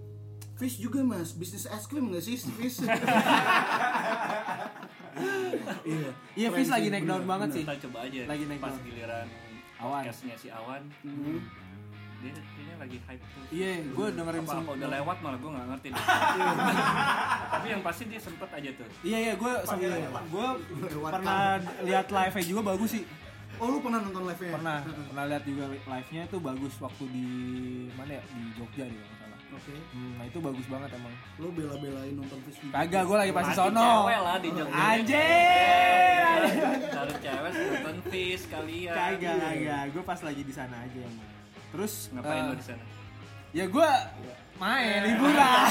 A: Fish juga mas, bisnis es krim nggak sih Fish? iya.
B: Iya, Fis lagi naik daun banget sih.
C: kita coba aja
B: Lagi naik
C: pas
B: down.
C: giliran
B: Awan.
C: podcastnya si Awan dia kayaknya lagi hype tuh
B: Iya, gue dengerin
C: apa, apa
B: semua.
C: udah lewat malah gue nggak ngerti deh. tapi yang pasti dia sempet aja tuh
B: Iya iya gue sambil gue
A: Lewat
B: pernah lihat live nya juga bagus sih
A: Oh lu pernah nonton live nya?
B: pernah pernah lihat juga live nya itu bagus waktu di mana ya di Jogja dia nggak salah
A: Oke.
B: hmm, nah itu bagus banget emang
A: Lu bela-belain nonton Fish juga.
B: kagak gue lagi pasti
C: Lagi
B: sono
C: cewek lah di Jogja
B: anjir
C: Cari cewek nonton fish kalian
B: kagak kagak gue pas lagi di sana aja emang terus
C: ngapain
B: eh,
C: lo di sana
B: ya gue main liburan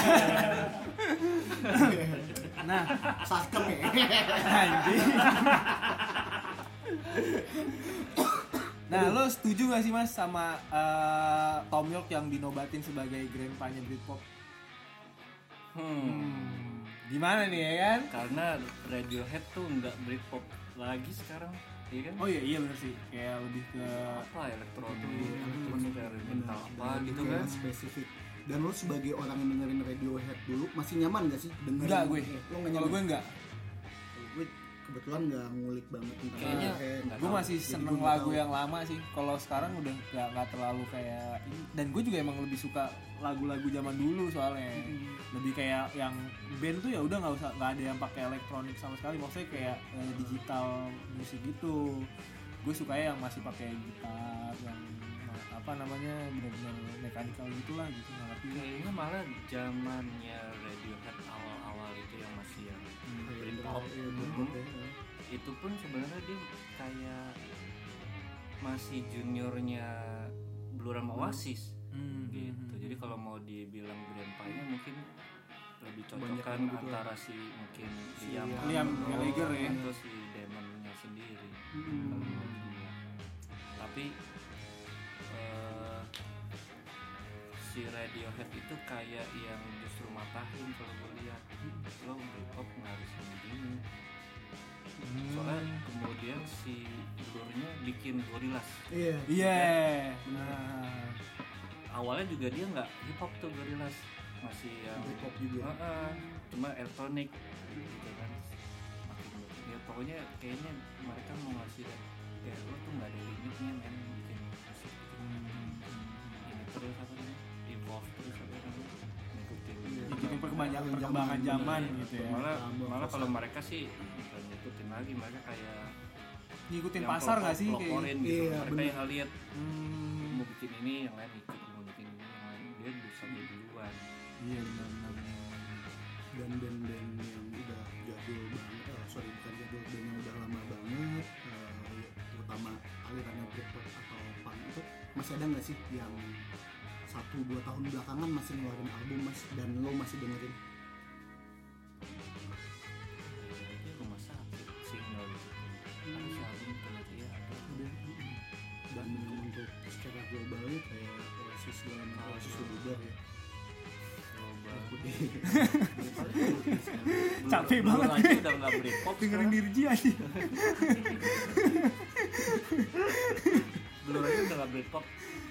B: nah
A: Sakem ya.
B: anjing nah lo setuju gak sih mas sama eh, Tom York yang dinobatin sebagai grandpanya Britpop
C: hmm.
B: gimana nih ya kan
C: karena Radiohead tuh nggak Britpop lagi sekarang iya kan
B: oh iya iya bener sih kayak lebih ke
C: apa elektro tuh elektronik mental
A: Iya,
C: apa gitu
A: Kayak
C: kan
A: Spesifik. Dan lu sebagai orang yang dengerin Radiohead dulu masih nyaman gak sih dengerin?
B: enggak gue
A: Eh, Lu nggak
B: kalau
A: nyaman?
B: gue enggak
A: Gue kebetulan nggak ngulik banget tentang
C: Kayaknya
A: Radiohead.
C: nggak
B: gue
C: tahu.
B: masih
A: Jadi
B: seneng
A: gua nggak
B: lagu
A: tahu.
B: yang lama sih kalau sekarang udah nggak nggak terlalu kayak ini. dan gue juga emang lebih suka lagu-lagu zaman dulu soalnya lebih kayak yang band tuh ya udah nggak usah nggak ada yang pakai elektronik sama sekali maksudnya kayak eh, digital musik gitu gue suka yang masih pakai gitar yang ma- apa namanya benar-benar mekanikal gitulah gitu nggak ngerti gue.
C: kayaknya malah zamannya Radiohead awal-awal itu yang masih yang Britpop
A: Iya,
C: Mhm. itu pun sebenarnya dia kayak masih juniornya Blur sama Oasis
B: Hmm.
C: gitu jadi kalau mau dibilang grandpa-nya mungkin lebih cocokan
A: yang gitu
C: antara si mungkin
A: Si
C: Liam
B: Liam
C: Hemsworth
B: Gallagher ya.
C: atau si Damonnya sendiri kalau menurut gua. Hmm. tapi eh, si Radiohead itu kayak yang justru matahin kalau gue lihat lo Britpop nggak harus yang begini
B: Hmm.
C: soalnya kemudian si Blurnya bikin Gorillaz
A: Iya.
B: iya
C: Bener.
B: nah
C: awalnya juga dia nggak hip hop tuh Gorillaz masih yang
A: Britpop juga.
C: Heeh, cuma elektronik gitu kan makin banyak. ya pokoknya kayaknya mereka mau ngasih ya lo tuh nggak ada limitnya men bikin musik gitu."
B: Hmm,
C: ini terus apa nih evolve terus apa namanya ngikutin
B: Iya, ikutin perkembangan perkembangan zaman gitu ya
C: malah
A: Tambah
C: malah
A: pasar.
C: kalau mereka sih bukan ngikutin lagi mereka kayak
B: ngikutin
C: yang
B: pasar nggak sih kayak
C: pelopor-peloporin gitu
A: Iya,
C: mereka
A: bener.
C: yang lihat
B: Hmm,
C: mau bikin ini yang lain ikut mau bikin ini yang lain dia bisa jadi duluan
B: iya benar-benar.
A: dan band-band yang udah jadul banget, eh, sorry bukan jadul, band yang udah lama banget, eh, ya, terutama alirannya Britpop atau punk itu masih ada nggak sih yang satu dua tahun belakangan masih ngeluarin album mas dan lo masih dengerin?
C: Ini rumah sakit sinyal gitu. Ada
B: Hmm.
C: si Alvin ternyata ya ada.
A: Dan untuk secara globalnya kayak Oasis segala macam Oasis udah bubar ya.
C: Coba.
A: Aku deh.
B: Capek
C: Blur-
B: banget.
C: Blur aja udah nggak Britpop
B: dengerin
C: sekarang.
B: dirji aja
C: Blur aja udah nggak Britpop.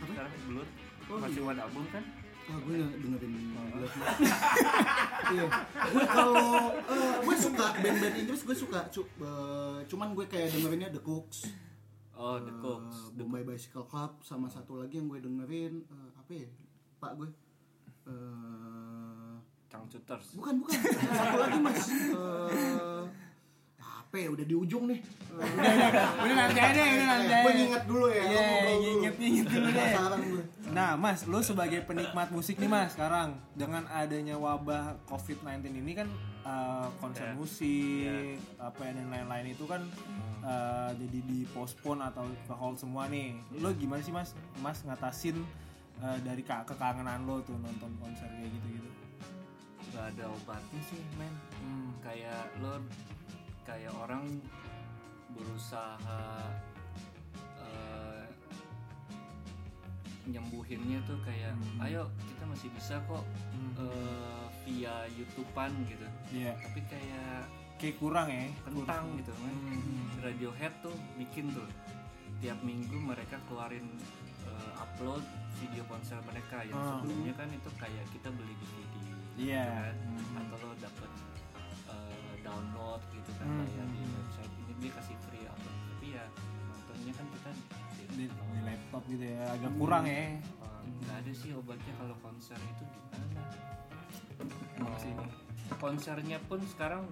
C: Sekarang Blur
A: Oh,
C: masih
B: iya.
C: one album kan
A: Ah, gue yang dengerin Black Sabbath. Iya. Gue kalau eh, gue suka band-band Inggris gue suka, cu- eh, cuman gue kayak dengerinnya The Cooks,
C: oh the
A: eh,
C: Cooks The
A: Bombay Bicycle Club, sama satu lagi yang gue dengerin eh, apa ya? Pak gue. Eh,
C: Changcuters
A: bukan bukan. Satu lagi mas. Eh, apa ya? Udah di ujung nih.
B: Udah nanti aja, udah nanti
A: gue
B: aja.
A: nginget dulu ya.
B: Iya,
A: ngobrol dulu.
B: nginget-nginget dulu deh.
A: Penasaran gue.
B: Nah, Mas, lu sebagai penikmat musik nih, Mas, sekarang dengan adanya wabah COVID-19 ini kan eh, konser
C: Iya.
B: musik, apa ya, dan lain-lain itu kan eh, jadi dipospon atau ke hold semua nih. Lu gimana sih, Mas? Mas ngatasin eh, dari ke- kekangenan lo tuh nonton konser kayak gitu-gitu.
C: nggak ada obatnya sih men
B: Hmm.
C: kayak lo kayak orang berusaha eh, nyembuhinnya tuh kayak
B: Hmm.
C: ayo kita masih bisa kok
B: Hmm.
C: eh, via youtubean gitu
B: Iya,
C: tapi kayak
B: kayak kurang ya.
C: kentang gitu kan
B: Hmm.
C: Radiohead tuh bikin tuh tiap minggu mereka keluarin eh, upload video konser mereka yang
B: Ah.
C: sebelumnya kan itu kayak kita beli DVD gitu
B: Iya.
C: kan
B: Hmm.
C: atau lo dapet eh, download gitu kan
B: Hmm.
C: kayak di website ini dia kasih free upload tapi ya nontonnya kan kita
B: Di, di laptop gitu ya, agak kurang ya.
C: Eh, nggak ada sih obatnya kalau konser itu gimana Emang sih, konsernya pun sekarang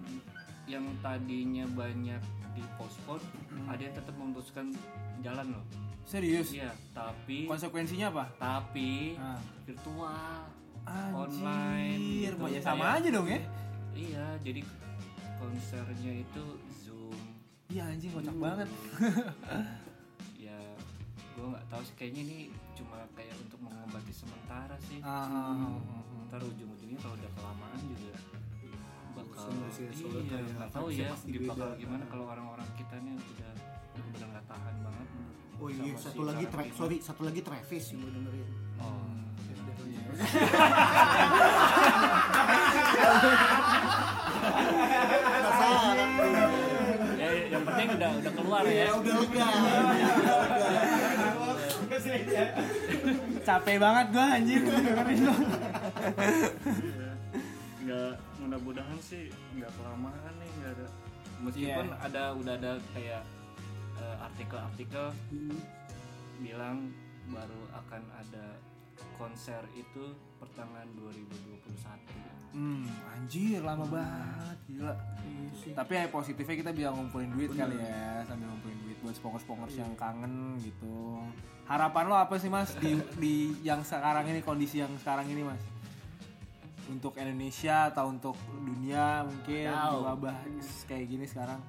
C: yang tadinya banyak dipospon
B: Hmm.
C: Hmm. ada yang tetap memutuskan jalan loh
B: Serius?
C: iya tapi
B: Konsekuensinya apa?
C: tapi
B: Ah.
C: virtual online
B: Anjir,
C: gitu.
B: mau ya sama aja dong ya?
C: iya jadi konsernya itu zoom
B: Iya anjing kocak banget.
C: ya gue nggak tahu sih kayaknya ini cuma kayak untuk mengobati sementara sih
B: Ah,
A: Ah.
C: ntar ujung-ujungnya kalau udah kelamaan juga bakal
A: Bosen sih, soalnya
C: iya
A: kayak
C: nggak tahu
A: vibes-nya
C: ya
A: pasti
C: di bakal
A: beda.
C: gimana kalau orang-orang kita nih udah udah benar nggak tahan banget
A: Oh iya,
C: Sama
A: satu
C: si
A: lagi Hmm. tra-
C: Tarantino.
A: sorry, satu lagi Travis yang gue dengerin.
C: oh
A: Penasaran.
C: ya yang penting udah udah keluar ya
A: Ya udah lega. Udah lega.
E: ya.
B: Capek banget gua anjir. dengerin lo.
C: nggak mudah-mudahan sih nggak kelamaan nih nggak ada meskipun
B: Iya.
C: ada udah ada kayak eh, artikel-artikel bilang baru akan ada konser itu pertengahan 2021
B: Hmm, anjir lama banget gila. Tapi ya positifnya kita bisa ngumpulin duit kali ya, sambil ngumpulin duit buat sponsor-sponsor yang kangen gitu. Harapan lo apa sih Mas di di yang sekarang ini kondisi yang sekarang ini Mas? Untuk Indonesia atau untuk dunia mungkin di
C: Tahu.
B: wabah kayak gini sekarang.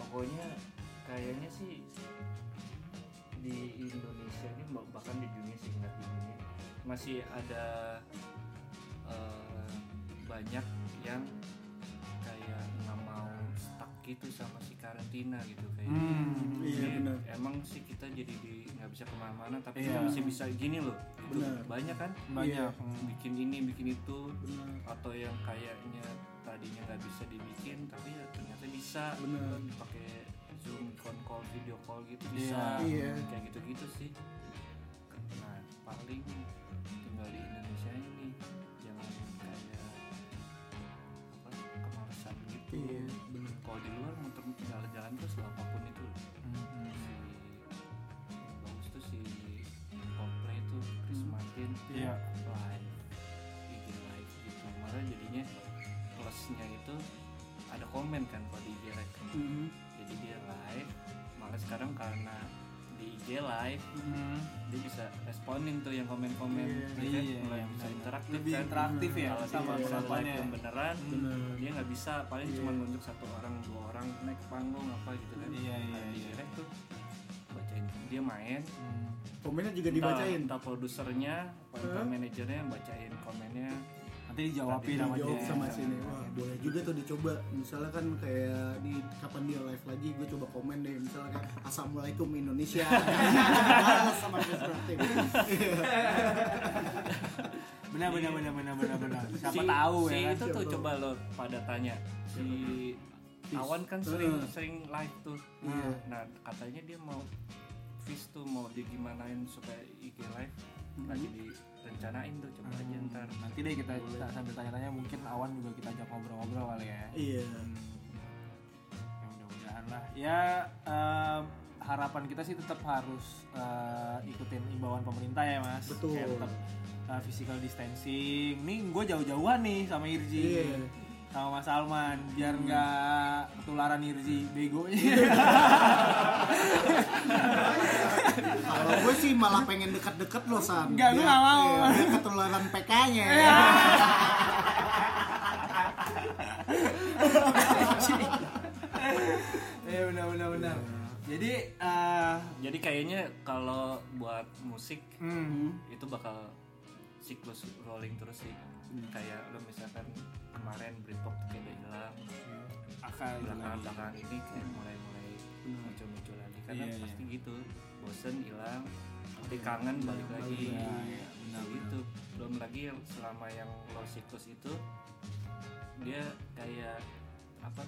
C: pokoknya kayaknya sih di Indonesia ini bah- bahkan di dunia sih nggak di dunia masih ada eh, banyak yang kayak nggak mau stuck gitu sama si karantina gitu kayak
B: Hmm.
A: Iya
C: Jadi,
A: benar.
C: emang sih kita jadi di- nggak bisa kemana-mana tapi
B: Iya.
C: kita masih bisa gini loh gitu.
A: Benar.
C: banyak kan
B: Banyak. Hmm.
C: bikin ini bikin itu
A: Benar.
C: atau yang kayaknya tadinya nggak bisa dibikin tapi ya ternyata bisa
A: Bener.
C: pakai zoom phone call video call gitu
B: Iya.
C: bisa
A: Iya.
C: kayak gitu gitu sih nah paling tinggal di Indonesia ini jangan kayak apa kemalasan gitu
A: Iya, benar.
C: kalau di luar muter jalan-jalan terus lah, apapun itu
B: Hmm.
C: si bagus tuh si Coldplay tuh Chris Martin
B: Iya.
C: live IG live gitu malah jadinya plusnya itu ada komen kan kalau di IG live
B: Hmm.
A: Mhm.
C: jadi dia live malah sekarang karena di IG live
B: Hmm.
C: dia bisa responin tuh yang komen-komen
A: Iya,
C: ya kan?
B: iya,
C: mulai
B: iya,
C: bisa
B: benar.
C: interaktif
B: Lebih
C: kan?
B: interaktif ya
C: kalau
B: sama
C: dia udah live
B: penontonnya. Hmm.
C: yang beneran
A: Benar.
C: dia nggak bisa paling
A: Iya.
C: cuma nunjuk satu orang dua orang naik ke panggung apa gitu kan
B: Iya, iya,
C: Nah, di
B: iya.
C: direct tuh bacain dia main
B: Hmm.
A: Komennya juga dibacain.
C: entah, entah produsernya apa entah
A: Hah?
C: manajernya yang bacain komennya
B: Nanti dijawabin
C: Tadi
B: sama
A: Jawab
B: dia.
A: sama sini. Wah, boleh juga tuh dicoba. Misalnya kan kayak di kapan dia live lagi, gue coba komen deh. Misalnya kayak Assalamualaikum Indonesia. Balas sama Chris Martin.
B: Benar benar benar benar benar benar. Siapa
C: Si-
B: tahu
C: si
B: ya.
C: itu
B: kan?
C: tuh coba lo pada tanya si awan kan sering sering live tuh
A: Iya.
C: nah katanya dia mau Fis tuh mau digimanain supaya IG live
B: Mm-hmm.
C: lagi direncanain tuh coba aja
B: Hmm,
C: ntar
B: nanti deh kita, kita sambil tanya-tanya mungkin awan juga kita ajak ngobrol-ngobrol kali ya
A: Iya.
B: Ya, mudah-mudahan lah ya em, harapan kita sih tetap harus eh, ikutin imbauan pemerintah ya mas
A: Betul.
B: Kayak tetap eh, physical distancing nih gue jauh-jauhan nih sama Irji
A: Iya.
B: sama Mas Salman biar nggak ketularan Irji begonya
A: Kalau gue sih malah pengen dekat-dekat loh San.
B: Enggak, gue
A: Biar-
B: nggak mau. Iya.
A: iya, biar ketularan PK-nya.
B: ya benar benar benar jadi eh,
C: jadi kayaknya kalau buat musik
B: hmm,
C: itu bakal siklus rolling terus sih kayak lo misalkan kemarin Britpop tuh kayak udah hilang
B: akan
C: belakangan belakangan ini kayak mulai mulai muncul muncul lagi karena
B: Iya, iya.
C: pasti gitu bosen hilang nanti kangen balik lagi
B: Iya, iya, benar,
C: gitu belum lagi yang selama yang lo siklus itu dia kayak apa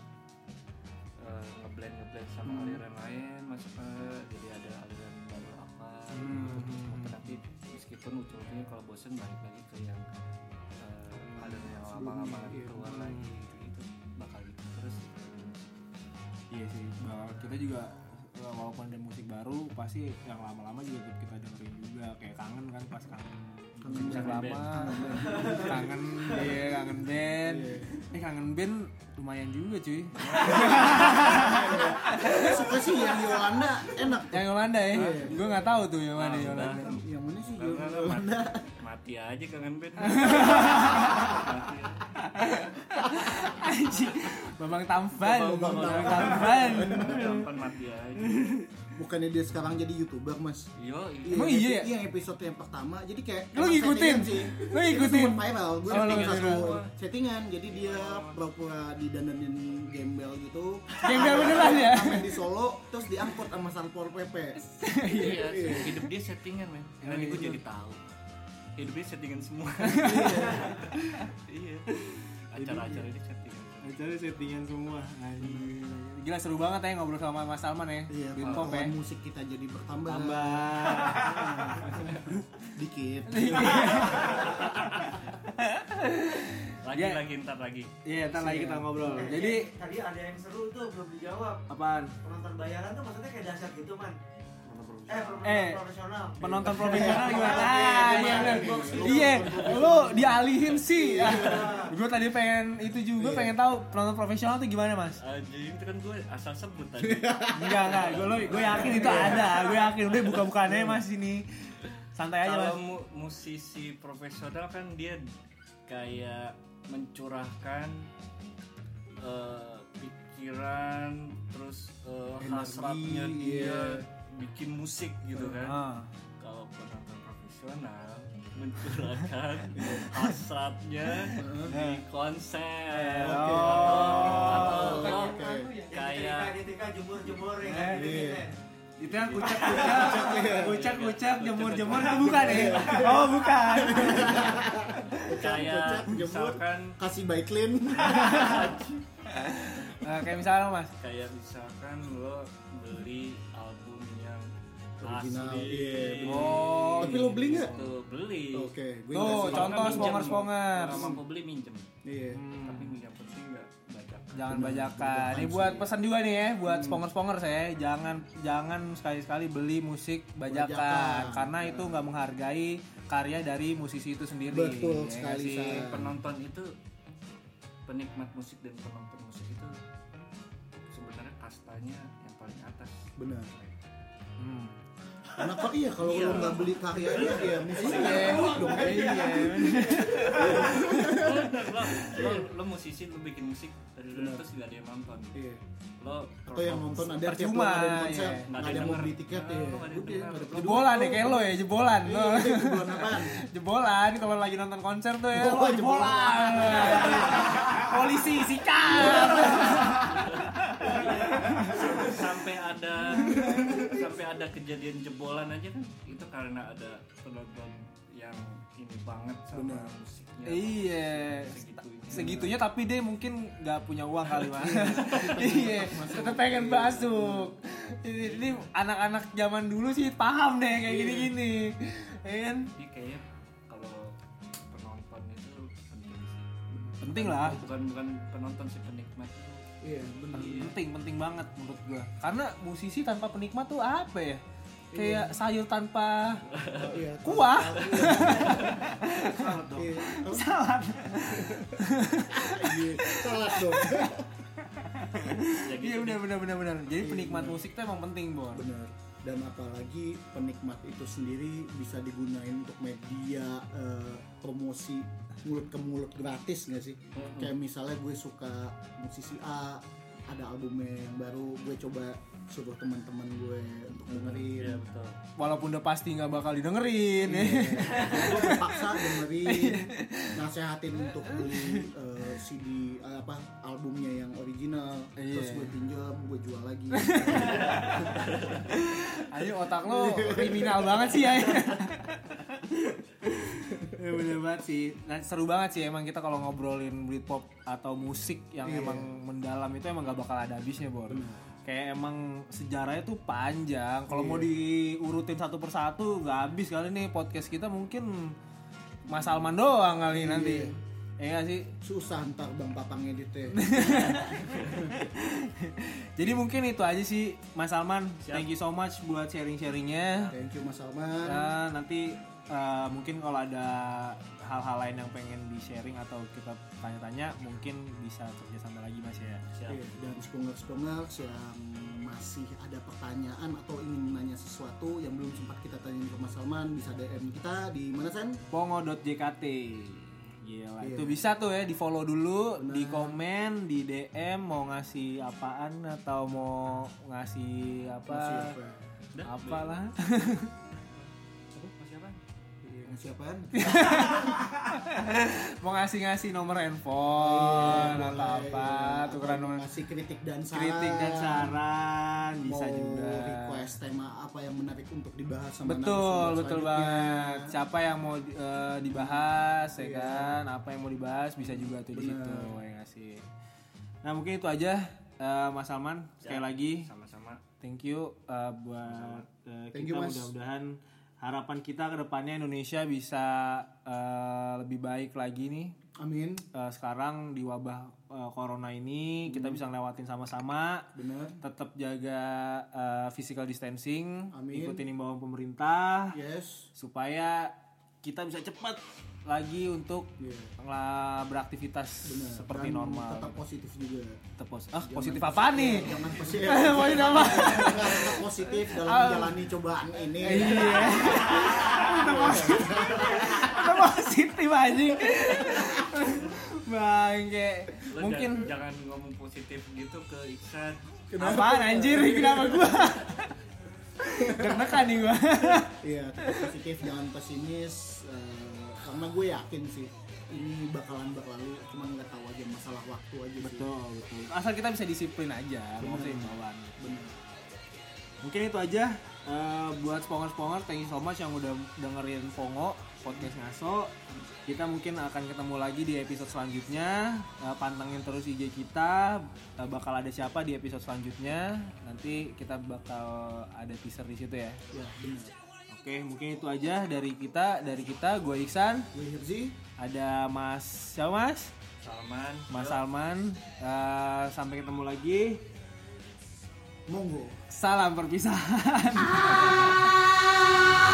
C: eh, ngeblend ngeblend
B: Hmm.
C: sama aliran lain masuk ke jadi ada aliran baru apa terus
B: Hmm.
C: mungkin nanti meskipun ujung-ujungnya kalau bosen balik lagi ke yang eh, aliran yang lama-lama keluar lagi gitu, gitu bakal gitu terus
B: Iya sih, bakal kita juga eh, walaupun ada musik baru pasti yang lama-lama juga tetap kita dengerin juga kayak kangen kan pas kangen kangen musik lama kangen iya kangen band eh kangen band lumayan juga cuy
A: Suka sih yang Yolanda enak.
B: yang Yolanda ya gue nggak tahu tuh yang mana
C: Ah,
B: Yolanda
C: udah.
A: Yang mana sih
C: Enggak, enggak,
A: Yolanda?
C: enggak, mati, mati aja kangen band Mati aja.
B: Anjing. Bambang Tampan
A: Bambang
B: Bambang Tampan
C: gampang mati aja
A: Bukannya dia sekarang jadi youtuber mas?
C: yo
B: Emang iya ya?
A: Yang episode yang pertama, jadi kayak
B: Lu
A: emang
B: ngikutin?
A: settingan sih.
B: Lu
A: Itu
B: ngikutin?
A: sempat viral, gue
B: Oh, lu
A: nonton
B: ngikutin.
A: satu settingan, jadi dia pura-pura didandanin gembel gitu.
B: Gembel beneran ya?
A: Sampai di Solo, terus diangkut sama Sarpol PP.
C: iya hidup dia settingan men dan
B: Emang
C: gue
B: gitu.
C: jadi tahu hidup dia settingan semua iya acara-acara ini settingan
B: Acara settingan semua anjing. Gila seru banget ya ngobrol sama Mas Salman ya
A: Iya,
B: Britpop ya
A: pengetahuan musik kita jadi bertambah
B: Tambah
A: dikit.
C: lagi lagi ntar lagi
B: Iya, ntar lagi kita ngobrol. Jadi
E: Jadi tadi ada yang seru tuh belum dijawab.
B: apaan?
E: Penonton bayaran tuh maksudnya kayak dahsyat gitu, Man. Eh, penonton
B: Eh,
E: profesional.
B: Penonton profesional gimana?
E: Ah,
B: Iya,
E: gimana?
B: bener. Iya, lu dialihin sih. Gue tadi pengen itu juga pengen tahu penonton profesional tuh gimana, Mas?
C: anjing itu kan gue asal sebut aja
B: Enggak, enggak. Gue gue yakin itu ada. Gue yakin udah buka-bukaannya Mas ini. Santai aja,
C: kalau
B: Mas.
C: mu- musisi profesional kan dia kayak mencurahkan eh, pikiran terus eh, hasratnya dia
A: iya.
C: bikin musik gitu kan
B: Ah.
C: kalau penonton profesional mencurahkan hasratnya di
A: Nah.
C: konser atau
A: Eh, oh, oke,
C: lo
A: oke.
C: kayak
E: ketika jemur-jemur ya.
B: Eh,
E: kan?
B: iya. Itu yang kucak kucak, kucak kucak, jemur jemur, ah, bukan ya? Oh bukan.
C: kayak
A: jemur.
C: misalkan
A: Kasih baik clean.
B: Nah, kayak misalnya mas,
C: kayak misalkan lo beli album yang
A: Original,
C: asli
A: iya, bener.
B: Oh,
A: Tapi lo beli nggak?
C: Itu beli
A: Oke, Oh, gue
B: Tuh,
A: nggak sih.
B: contoh
C: Minjem.
B: spongers-spongers.
C: Kalau mampu beli minjem
A: Iya.
B: Hmm.
C: tapi yang penting nggak baca
B: Jangan bajakan. Ini buat pesan juga nih ya, buat
A: Hmm.
B: sponger-sponger saya, jangan jangan sekali-sekali beli musik bajakan,
A: Bajakan.
B: karena itu nggak menghargai karya dari musisi itu sendiri.
A: Betul
B: Ya
A: sekali,
B: nggak sih?
A: Shay.
C: penonton itu penikmat musik dan penonton musik itu sebenarnya kastanya yang paling atas
A: Benar.
B: Hmm.
A: Nah kok iya kalau lo nggak beli karyanya ya musiknya nggak enak dong.
B: Eh, iya.
C: lo, lo, lo musisi lo bikin musik dari dulu terus nggak ada yang nonton
A: Iya.
C: lo
A: Atau yang nonton ada tiap lo
B: Percuma,
A: ngadain konser,
B: iya.
A: nggak ada yang mau
C: denger. Nah,
A: beli tiket ya.
C: Nggak ada
A: Udah,
C: yang
A: nggak ada
C: denger.
B: Jebolan ya kayak lo ya, jebolan. Lo.
A: Iya, Jebolan apaan?
B: Jebolan kalau lagi nonton konser tuh ya.
A: Oh,
B: lo jebolan. Polisi sikat.
C: sampai ada
D: sampai ada kejadian jebolan aja kan itu karena ada penonton yang ini banget sama
B: Benar.
D: musiknya
B: Iya.
D: segitunya
B: Segitunya tapi dia mungkin nggak punya uang kali mas. iya. Tetap pengen masuk. Ini, ini anak-anak zaman dulu sih paham deh kayak gini-gini. Ya kan?
D: jadi kayaknya kalau penonton itu penting sih
B: Penting lah.
D: bukan bukan penonton sih penikmat itu
A: Iya, benar.
B: Penting, penting banget menurut gua. Karena musisi tanpa penikmat tuh apa ya? Kayak sayur tanpa
A: Iya.
B: kuah,
A: Salah dong. Iya.
B: salad.
A: Iya, Salah dong.
D: jadi Ya gitu,
B: Iya benar benar benar benar. Jadi penikmat musik tuh emang penting, Bon.
A: Benar. Dan apalagi penikmat itu sendiri bisa digunain untuk media eh, promosi mulut ke mulut gratis nggak sih? Kayak misalnya gue suka musisi A, ada albumnya yang baru, gue coba suruh teman-teman gue untuk dengerin.
D: iya betul
B: Walaupun udah pasti nggak bakal didengerin.
A: gue terpaksa dengerin nasehatin untuk beli eh, CD eh, apa albumnya yang original terus
B: Iya.
A: gue pinjam gue jual lagi
B: Ayo otak lo kriminal banget sih ya. ya bener banget sih. Nah, seru banget sih emang kita kalau ngobrolin Britpop atau musik yang
A: Iya.
B: emang mendalam itu emang gak bakal ada habisnya, Bor. Kayak emang sejarahnya tuh panjang. Kalau mau diurutin satu persatu nggak habis kali nih podcast kita mungkin Mas Alman doang kali nanti. Ya nggak sih?
A: susah ntar bang papang editnya
B: Jadi mungkin itu aja sih Mas Alman. Thank you so much buat sharing-sharingnya.
A: thank you mas Salman
B: Nah, nanti eh, mungkin kalau ada hal-hal lain yang pengen di sharing atau kita tanya-tanya mungkin bisa kerja sama lagi mas ya
A: Iya, dan spongers-spongers yang masih ada pertanyaan atau ingin nanya sesuatu yang belum sempat kita tanyain ke Mas Salman bisa DM kita di mana San?
B: pongo.jkt Gila,
A: Iya.
B: itu bisa tuh ya di follow dulu,
A: Benar.
B: di komen, di DM mau ngasih apaan atau mau ngasih
A: Ngasih
B: apa
A: apa?
B: apalah.
D: masih apa
A: Iya, Ngasih apaan?
B: mau ngasih-ngasih nomor
A: Iya,
B: handphone atau
A: boleh.
B: apa, Oh, tukeran
A: Atau
B: nomor
A: ngasih kritik dan saran.
B: kritik dan saran bisa
A: mau
B: juga.
A: request tema apa yang menarik untuk dibahas sama
B: betul
A: narasumber
B: betul
A: selanjutnya.
B: banget siapa yang mau eh, dibahas ya
A: Iya.
B: kan apa yang mau dibahas bisa juga tuh di situ ya nggak sih? nah mungkin itu aja eh, Mas Salman sekali
A: Ya.
B: lagi
D: sama-sama
B: thank you eh, buat eh,
A: Thank
B: kita
A: you, Mas.
B: mudah-mudahan harapan kita ke depannya Indonesia bisa eh, lebih baik lagi nih
A: amin
B: Eh, sekarang di wabah eh, corona ini kita
A: Hmm.
B: bisa ngelewatin sama-sama
A: benar
B: tetap jaga eh, physical distancing,
A: Amin.
B: ikutin imbauan pemerintah
A: yes
B: supaya kita bisa cepat lagi untuk
A: Iya.
B: ngela- beraktivitas
A: benar
B: seperti
A: Dan
B: normal.
A: tetap Iya, positif juga
B: Tetap pos- ah, positif apa nih?
A: jangan positif
B: Mau ini apa?
A: Jangan tetap positif dalam menjalani cobaan ini
B: Ah. Iya. Udah positif. Udah positif anjing. Bangke.
D: Lo
B: Mungkin
D: jangan, jangan ngomong positif gitu ke Iksan
B: apaan anjir kenapa gua? Deg-degan nih gua.
A: iya tetap positif jangan pesimis Eh, karena gue yakin sih ini bakalan berlalu cuman nggak tahu aja masalah waktu aja sih
B: Betul, betul. Asal kita bisa disiplin aja, nggak usah imbauan.
A: benar
B: Mungkin itu aja eh, buat sponsor-sponsor thank you so much yang udah dengerin Pongo podcast ngaso. Kita mungkin akan ketemu lagi di episode selanjutnya. Eh, pantengin terus IG kita, Eh, bakal ada siapa di episode selanjutnya. Nanti kita bakal ada teaser di situ ya.
A: ya benar
B: Oke, mungkin itu aja dari kita, dari kita gue Iksan,
A: gue Hirzi
B: ada Mas siapa Mas?
D: Salman
B: Mas Salman. Eh, sampai ketemu lagi.
A: monggo
B: Salam perpisahan.
G: ah